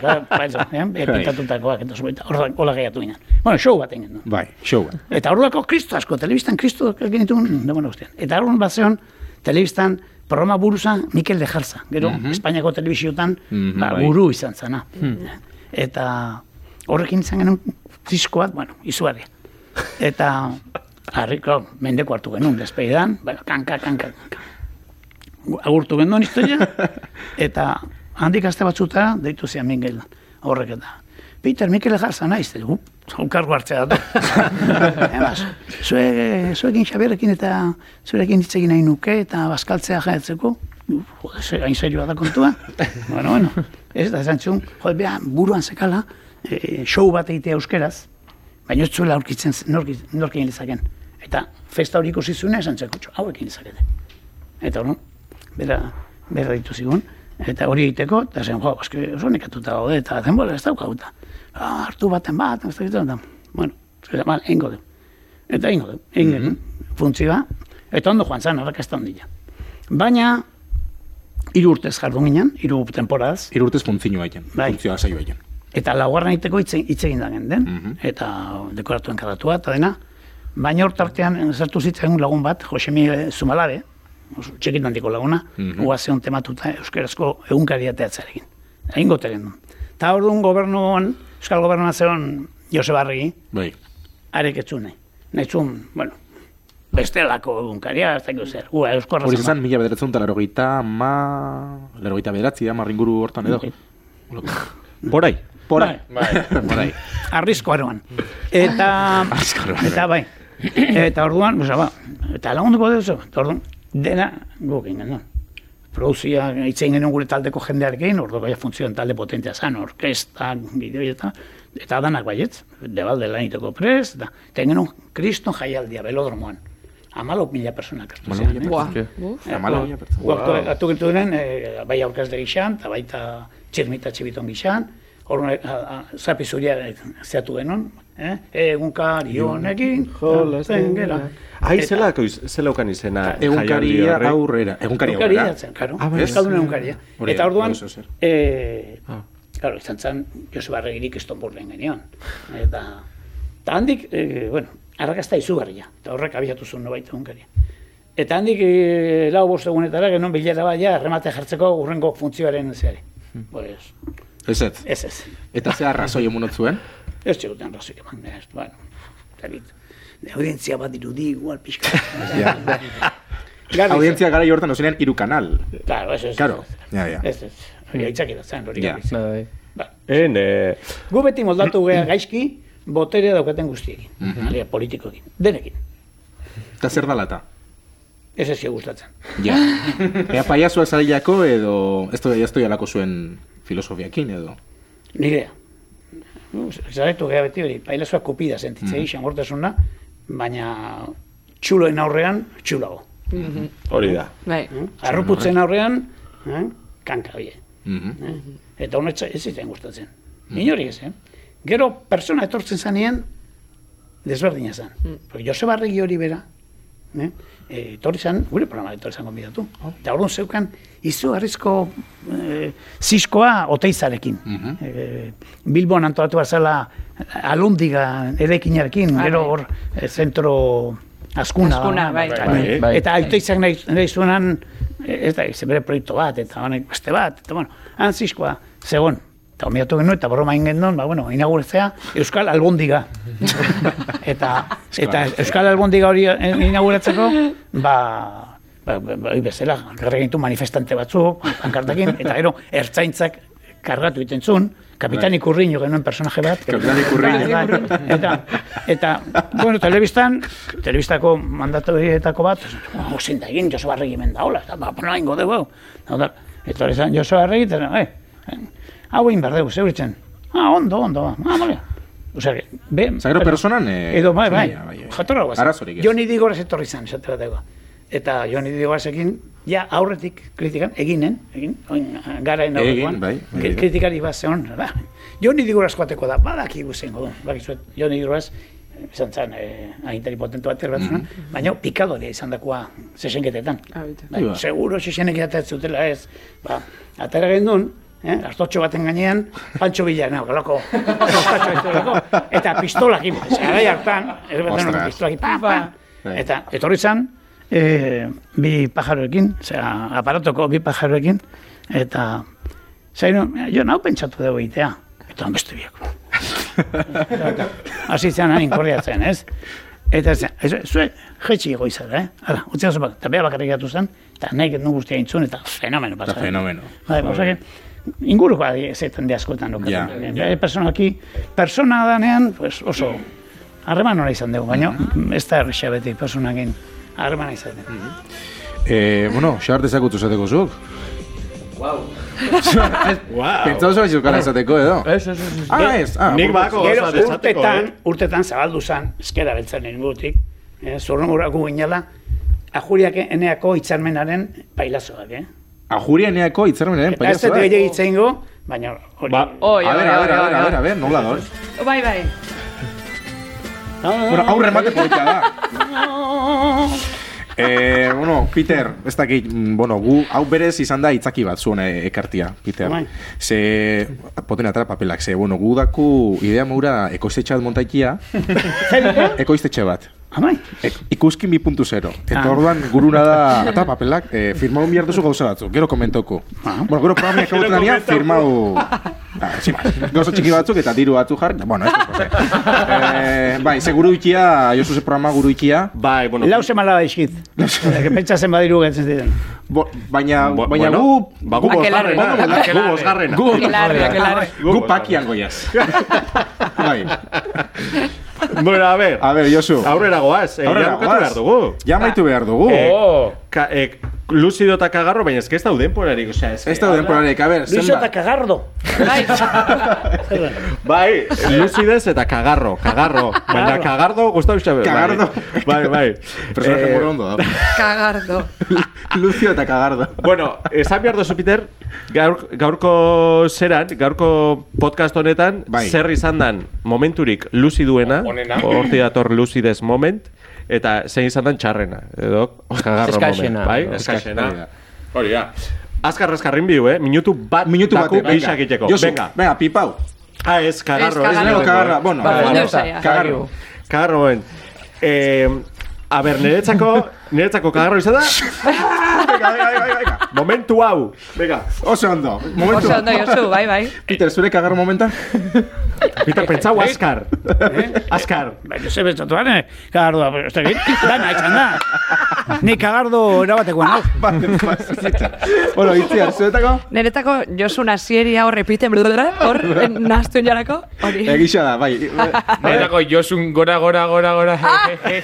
Claro, pa eso, eh? E, Pintatutakoak, eta zubaita, horrela- hola gehiatu ginen. Bueno, show bat egin. genuen. Bai, show bat. Eta horrelako kristo asko, telebistan kristo genituen, demona guztian. Eta horren bat zeon, telebistan, programa buruza Mikel de Jarza. Gero, Espainiako telebiziotan, Mhm, ba, bai. Hmm. buru izan zana. Eta horrekin izan genuen disko bat, bueno, izugarria. Eta, harri, klar, mendeko hartu genuen, despeidan, bueno, kanka, kanka, kanka. Agurtu genuen historia, eta handik aste batzuta deitu zian Mingel horrek eta. Peter, Mikel Jarza naiz, eta gu, elkargo hartzea da. Emaz, zue, zuekin Xabierrekin eta zurekin hitz egin nahi nuke eta bazkaltzea jaetzeko. Jode, ze- hain serioa da kontua. bueno, bueno, ez da esan txun, jode, bea, buruan zekala, e, show bat egitea euskeraz, baina ez zuela aurkitzen z- norki- nork egin lezaken. Eta festa hori ikusi zuena esan txekutxo, hauekin lezakete. Eta hori, bera, bera ditu zigun, eta hori egiteko, eta zen, jo, eske oso nekatuta gaude, eta denbora ez daukauta. Ah, hartu baten bat, ez dakit zer da. Bueno, zera, ba, egingo dugu. Eta egingo dugu, egin mm funtzioa, eta ondo joan zen, arrakazta ondila. Baina, hiru urtez jardun ginen, hiru temporadaz, Hiru urtez funtzioa egin. Bai. Funtzioa saioa egin. Eta laugarren iteko hitz hitz egin da den, Mhm. eta dekoratuen kadatua, eta dena. Baina hor tartean sartu zitzaigun lagun bat, Josemi Zumalabe, oso txekin handiko laguna, Mhm. uazion tematuta euskarazko egunkaria teatzarekin. Egin gote genuen. Eta hor duen gobernuan, euskal gobernuan zeon Joseba Arregi, Bai. arek etzu nahi. Nahizun, bueno, bestelako egunkaria, ez dakit zer, ua, eusko Hori arrazen izan, mila bederatzen eta larogeita ma... Larogeita bederatzi, ama ringuru hortan edo. Bai. Porai. Porai. Bai. Porai. Arrizko aroan. Eta... Arrizko aroan. Eta bai. Eta orduan, oza, ba, eta lagunduko duzu. Eta orduan, dena guk egin genuen. Produzia, itzein genuen gure taldeko jendearekin, orduan bai funtzioen talde potentea zan, orkesta, bideo eta, eta bai, danak baietz, debalde laniteko prez, eta, eta egin genuen kriston jaialdia, belodromoan. Amalok mila personak hartu Hamalau ziren, mila eh? Buah. Eske. Buf. Hamalau mila pertsona. Gu aktu- aktu gertu diren, eh, bai aurkezle gixan, eta baita txirmita txibiton gixan, Horren, a- a- zapi zuria eh, zeatu genuen, eh? Egunka, honekin, jolasten gera. Ahi, Eta- zelako iz- zelaukan izena jaialdi Egunkaria horri? aurrera. Egunkaria Egunkaria aurrera. zen, karo. Ah, bai, ez. Euskaldun egunkaria. Hori da, Eta Ah. orduan, hori zer. eh, karo, izan zen, Joseba Arregirik estonburren genion. Eta, eta handik, eh, bueno, arrakazta izugarria. Eta horrek abiatu zuen nobait egunkaria. Eta handik, eh, lau bost egunetara, genon bilera baia, remate jartzeko urrengo funtzioaren zeari. Hmm. Pues, Ez ez. ez ez. Eta ze arrazoi emunot zuen? Ez txeguten razoik eman, ez, bueno, zabit. Audientzia bat irudi, igual pixka. Ja. Garbi zen. Audientzia gara jortan ozenean iru kanal. Claro, ez, ez. Claro. ez, ez. Ja, ja. Ez, ez. Hori aitzakira zen, hori Ja. garbi zen. Nada, bai. Ba, En, eh, Gu beti moldatu gea gaizki, botere daukaten guztiekin. Mm politikoekin. Denekin. Eta zer dalata? Ez ez gustatzen. Ja. Ea paiazua zariako edo... Ez du ez alako zuen filosofiakin edo. Nirea. Nu, Zaretu gea beti hori, pailazoa kopida sentitzea mm xamortasuna, baina txuloen aurrean, txulago. hori da. Bai. Arruputzen aurrean, eh? kanka, bie. Eta honetxe ez zitzen gustatzen. Inori ez, eh? Gero, persona etortzen zanien, desberdina zen. Mm. Joseba Arregi hori bera, ne? E, etorri zen, gure programa etorri zen gonbidatu. Eta orduan zeukan, izu harrizko e, ziskoa oteizarekin. e, Bilbon antolatu bezala alundiga eraikinarekin, gero hor e, zentro askuna. Azkuna, dagoena. bai. Bai. Bai. Eta autoizak nahi, nahi zuenan, ez da, ze bere proiektu bat, eta honek beste bat, eta bueno, antziskoa, zegoen. Eta omiatu genuen, eta broma ingen duen, ba, bueno, inauguratzea Euskal Albondiga. eta, eta Euskal Albondiga hori eh, inauguratzeko, ba, ba, ba, ba hori bezala, garregintu manifestante batzuk, pankartakin, eta gero, ertzaintzak kargatu egiten zuen, Kapitan Ikurriño genuen personaje bat. Kapitan Ikurriño. Bai, bai. Eta, eta, bueno, telebistan, telebistako mandatu horietako bat, oh, zein da egin, Joseba Arregi mendaola, eta, ba, bueno, ingo dugu, hau. Eta, da, etorri zen Joseba Arregi, eta, eh, hau egin behar dugu, zeuritzen. Ah, ondo, ondo, ah, mole. Osea, que, be, Osea, gero personan, eh, edo, bai, bai, zeina, bai, eh, jatorra guazen. arazorik ez. Joni Digorez etorri zen, esate bateko. Eta Joni Digorezekin, ja aurretik kritikan, eginen, egin, oin, garaen Egin, aurrekoan. bai, bai, Kri- bai. kritikari bat zeon, da. Joni Digoraz joateko da, badaki guzengo du, bakizuet, Joni Digoraz, izan zen, eh, agintari potentu bat erbatzen, baina pikadoria izan dakoa zesenketetan. Ah, bita. Bai, Iba. seguro zesenek eta ez zutela ez, ba, atera gendun, eh, hartotxo baten gainean, Pantxo Villana, ba, galako, zostatxo ez duelako, eta pistolakin, garai hartan, ez baten Ostras. honen pistolakin, pa, pa, eta etorri zen, eh, bi pajaroekin, zera, aparatoko bi pajaroekin, eta Zaino, jo nau pentsatu dugu egitea. Eta han beste biak. Hasi zen hain korriatzen, ez? Eta zen, ez, zue, jetxi goizara, eh? Hala, utzia zuen, bak- eta bea bakarrik gatu zen, eta nahi gendu guztia intzun, eta fenomeno pasa. Eta fenomeno. Bai, osea, inguruko zetan de askotan dokatzen. Ja, Bai, personalki, persona danean, pues oso, harreman hori izan dugu, baina Mm-hmm. ez da errexea beti personakin harremana izaten. Eh, bueno, xar dezakutu zateko zuk. Wow. Pentsatu zuen zukala esateko edo. Eh, Ez, ez, ez. ez. Ah, ez. Ah, Nik bueno. bako Gero Ba, gauza desateko, urtetan, eh? urtetan zabaldu zan, eskera beltzaren ingutik, eh, zorrongorako ginela, ajuriak eneako itzarmenaren pailazoak, eh? Ajuria neako itzarmenaren Eta ez paiazoa. dut gehiagik itzengo, baina hori... Ba, A Oi, ver, oi, eh? a ver, oi, a oi, ver, a ver, a ver, nola gaur. Bai, bai. Bueno, aurre emate politia da. Eh, bueno, Peter, ez dakit, mm, bueno, gu, hau berez izan da itzaki bat zuen eh, ekartia, Peter. Bai. Ze, poten atara papelak, ze, bueno, gu daku idea maura ekoiztetxe bat montaikia, ekoiztetxe bat. Amai, Ek- Ikuskin 2.0. Eta Ah. orduan guruna da, eta papelak, eh, firmaun bihar duzu gauza batzuk, gero komentoko. Bueno, gero programa akabatu danean, firmau... Ah, sin más. Gauza txiki batzuk eta diru batzuk jarri, bueno, ez da pose. eh, bai, ze guru ikia, Josu ze programa guru ikia, Bai, bueno. lau semala baizkit. Eta, que pentsatzen badiru gatzen ziren. bo, baina, Bo- baina bueno, gu... ba, gu Akelarre. bosgarrena. Gu bosgarrena. Gu, Akelarre, akelarre. gu pakian goiaz. bai. Bueno, a ver. A ver, Josu. Aurrera goaz. Eh, Aurrera ja bukatu goaz. behar dugu. Ja amaitu behar dugu. Eh, Oh! Ka, eh, luzido eta kagarro, baina ez que ez da denporarik. Osea, ez que- Ez da denporarik, a ver, Luiso eta zenbat. kagardo. Bai. Bai, lucidez eta kagarro, kagarro. Baina kagardo gustau xabe. Kagardo. Bai, bai. Personaje Eh, muy ondo da. Kagardo. Lucio eta Cagardo. Bueno, esan behar duzu, Peter, gaur, gaurko zeran, gaurko podcast honetan, Bai. zer izan dan momenturik luziduena, Onena. horti dator lucidez moment, eta zein izan dan txarrena, edo, kagarro moment. Eskaxena. Bai, Edo, eskaxena. Hori da. Azkar, azkar inbiu, eh? Minutu bat, Minutu daku batek, venga. bisak iteko. Josu, Venga. venga, pipau. Ah, ez, kagarro. ez Ez, kagarro. lehenengo, eh? Kagarra, bueno, Ba, bueno, bueno, saia. kagarro. Kagarro moment. Eh, a ber, niretzako, niretzako kagarro izan da, Venga, venga, venga, venga. momentu hau. Venga. Oso ondo. Momentu. Oso ondo, Josu, bai, bai. Peter, zure kagarro momentan? Peter, pentsau azkar. Azkar. Ba, Josebe Estatuaren, kagardo da, ez dakit, dana izan da. Ni kagardo erabatekoan hau. Baten pasizita. Bueno, itziar, zuretako? Niretako Josu nasieria hor repiten, blablabla, hor eh, nahastu jarako, hori. Egisa da, bai. Niretako Josun gora, gora, gora, gora,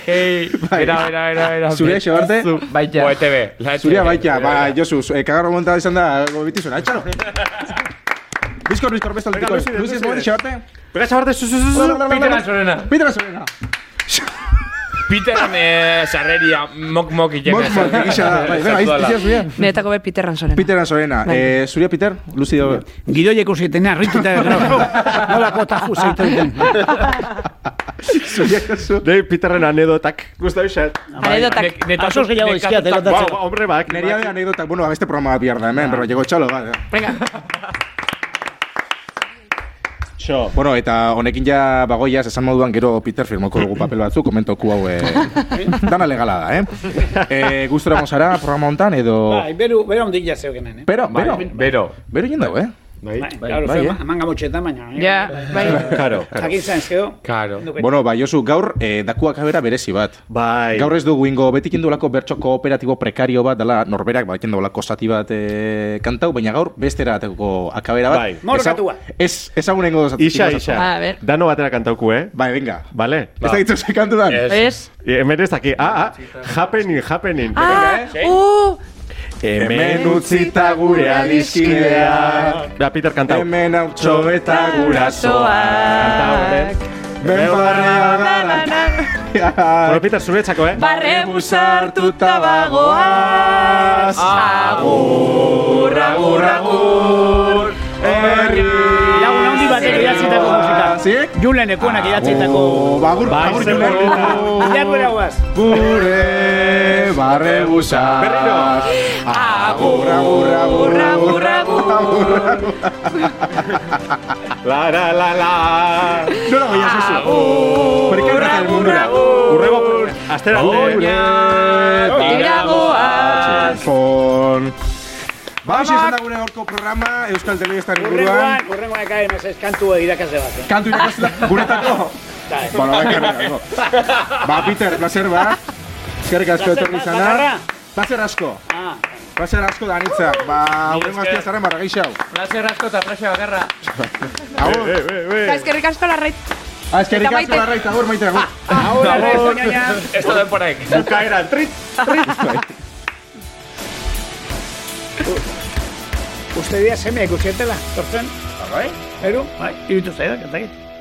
hei, Bera, bera, bera, bera. Zurea xo arte? Bo, Baita. ETV. la Zurea ETV. baita, ba, Josu, eh, kagarro momentan izan da, gobitizuna, etxaro. Bizkor, bizkor, bestal, Venga, bizkor. Lucy, Lucy, Lucy. Lucy, xo arte? Venga, chavarte, zu, zu, zu, zu. Peter Azorena. Peter Azorena. Peterren eh, sarreria mok-mok Mok, mok, ikena. egisa da, bai, venga, Sartu ala. izia zuria. Niretako be Peter Ransorena. Peter Ansorena, Bai. eh, zuria Peter, Lucy Dobe. Gidoia ikusi etena, rituta grabatu. Nola kota juzeiten den. Dei Peterren anedotak. Gustau xat. Bai. Anedotak. Nek- netatu- Asos gehiago nekatuta- izkiat, Ba, elatatzeko. ba, hombre, bak. Neria de anécdota, bueno, a este programa pierda, hemen, pero llegó txalo, bai. Venga, Xo. Bueno, eta honekin ja bagoiaz esan moduan gero Peter firmoko dugu papel batzu, komentoku hau eh, dana legala da, eh? eh gustura mozara programa hontan edo... Bai, beru, beru ondik ja zeukenen, eh? Pero, Bai, bero, Bero. bero jendau, eh? Bai, Bai. claro, bai, bai, eh? manga motxetan, baina... eh? ja, bai. Karo, karo. Jakin zain, zeo. Karo. Bueno, bai, Josu, gaur eh, dakuak abera berezi bat. Bai. Gaur ez dugu ingo, betik indulako bertso kooperatibo prekario bat, dela norberak bat indulako zati bat eh, kantau, baina gaur bestera ateko akabera bat. Bai. Morrokatua. Ez, ezagunengo zati. Isa, isa. Ba. Ah, a ver. Dano batera kantauku, eh? Bai, venga. Vale? E, Ez dakitzu ze kantu dan. Ez. Ez? Hemen ez daki. Ah, ah. Happening, happening. Ah, uh, Hemen utzita gure adiskidea Da, Peter kantau. Hemen hautso eta Kantau, eh? gurasoak. Ben barra Na, na, na. Bueno, gara Peter, zuretzako, Ba- eh? Barre busartuta bagoaz Ah. Agur, agur, agur Herri Lagun handi batek idatzitako musika. Ziek? Julen Ekuanak idatzitako... Bagur, Bai, bagur, zenbat. Jarduera guaz. Gure barre busar Agur, agur, agur, Agur, agur, La, la, la, la. No la voy a hacer Agur, agur, Urrego, astera. Tiragoaz Con... Ba, hauxe izan da gure gaurko programa Euskal Telebistan inguruan Urrengoan, urrengoan ekaen, ez kantu irakasle bat. eh? Kantu irakasla guretako. Bueno, da kerrerako. Ba, Peter, placer bat. Eskerrik asko Placer etorri bat, izana. bakarra. Placer asko. Ah. Placer asko da anitza. Ba, urrengo astia zaren barra geixau. Placer asko eta placer bakarra. Agur. Eskerrik asko larrait Ah, Eskerrik Eta asko maite. da raita, agur maite agur. Ahora, rezoñoña. Ez da denporaek. Bukaera, trit. Uste dira semea ikusietela, tortzen. Bai? Eru? Bai, irutu zaidak, ez dakit.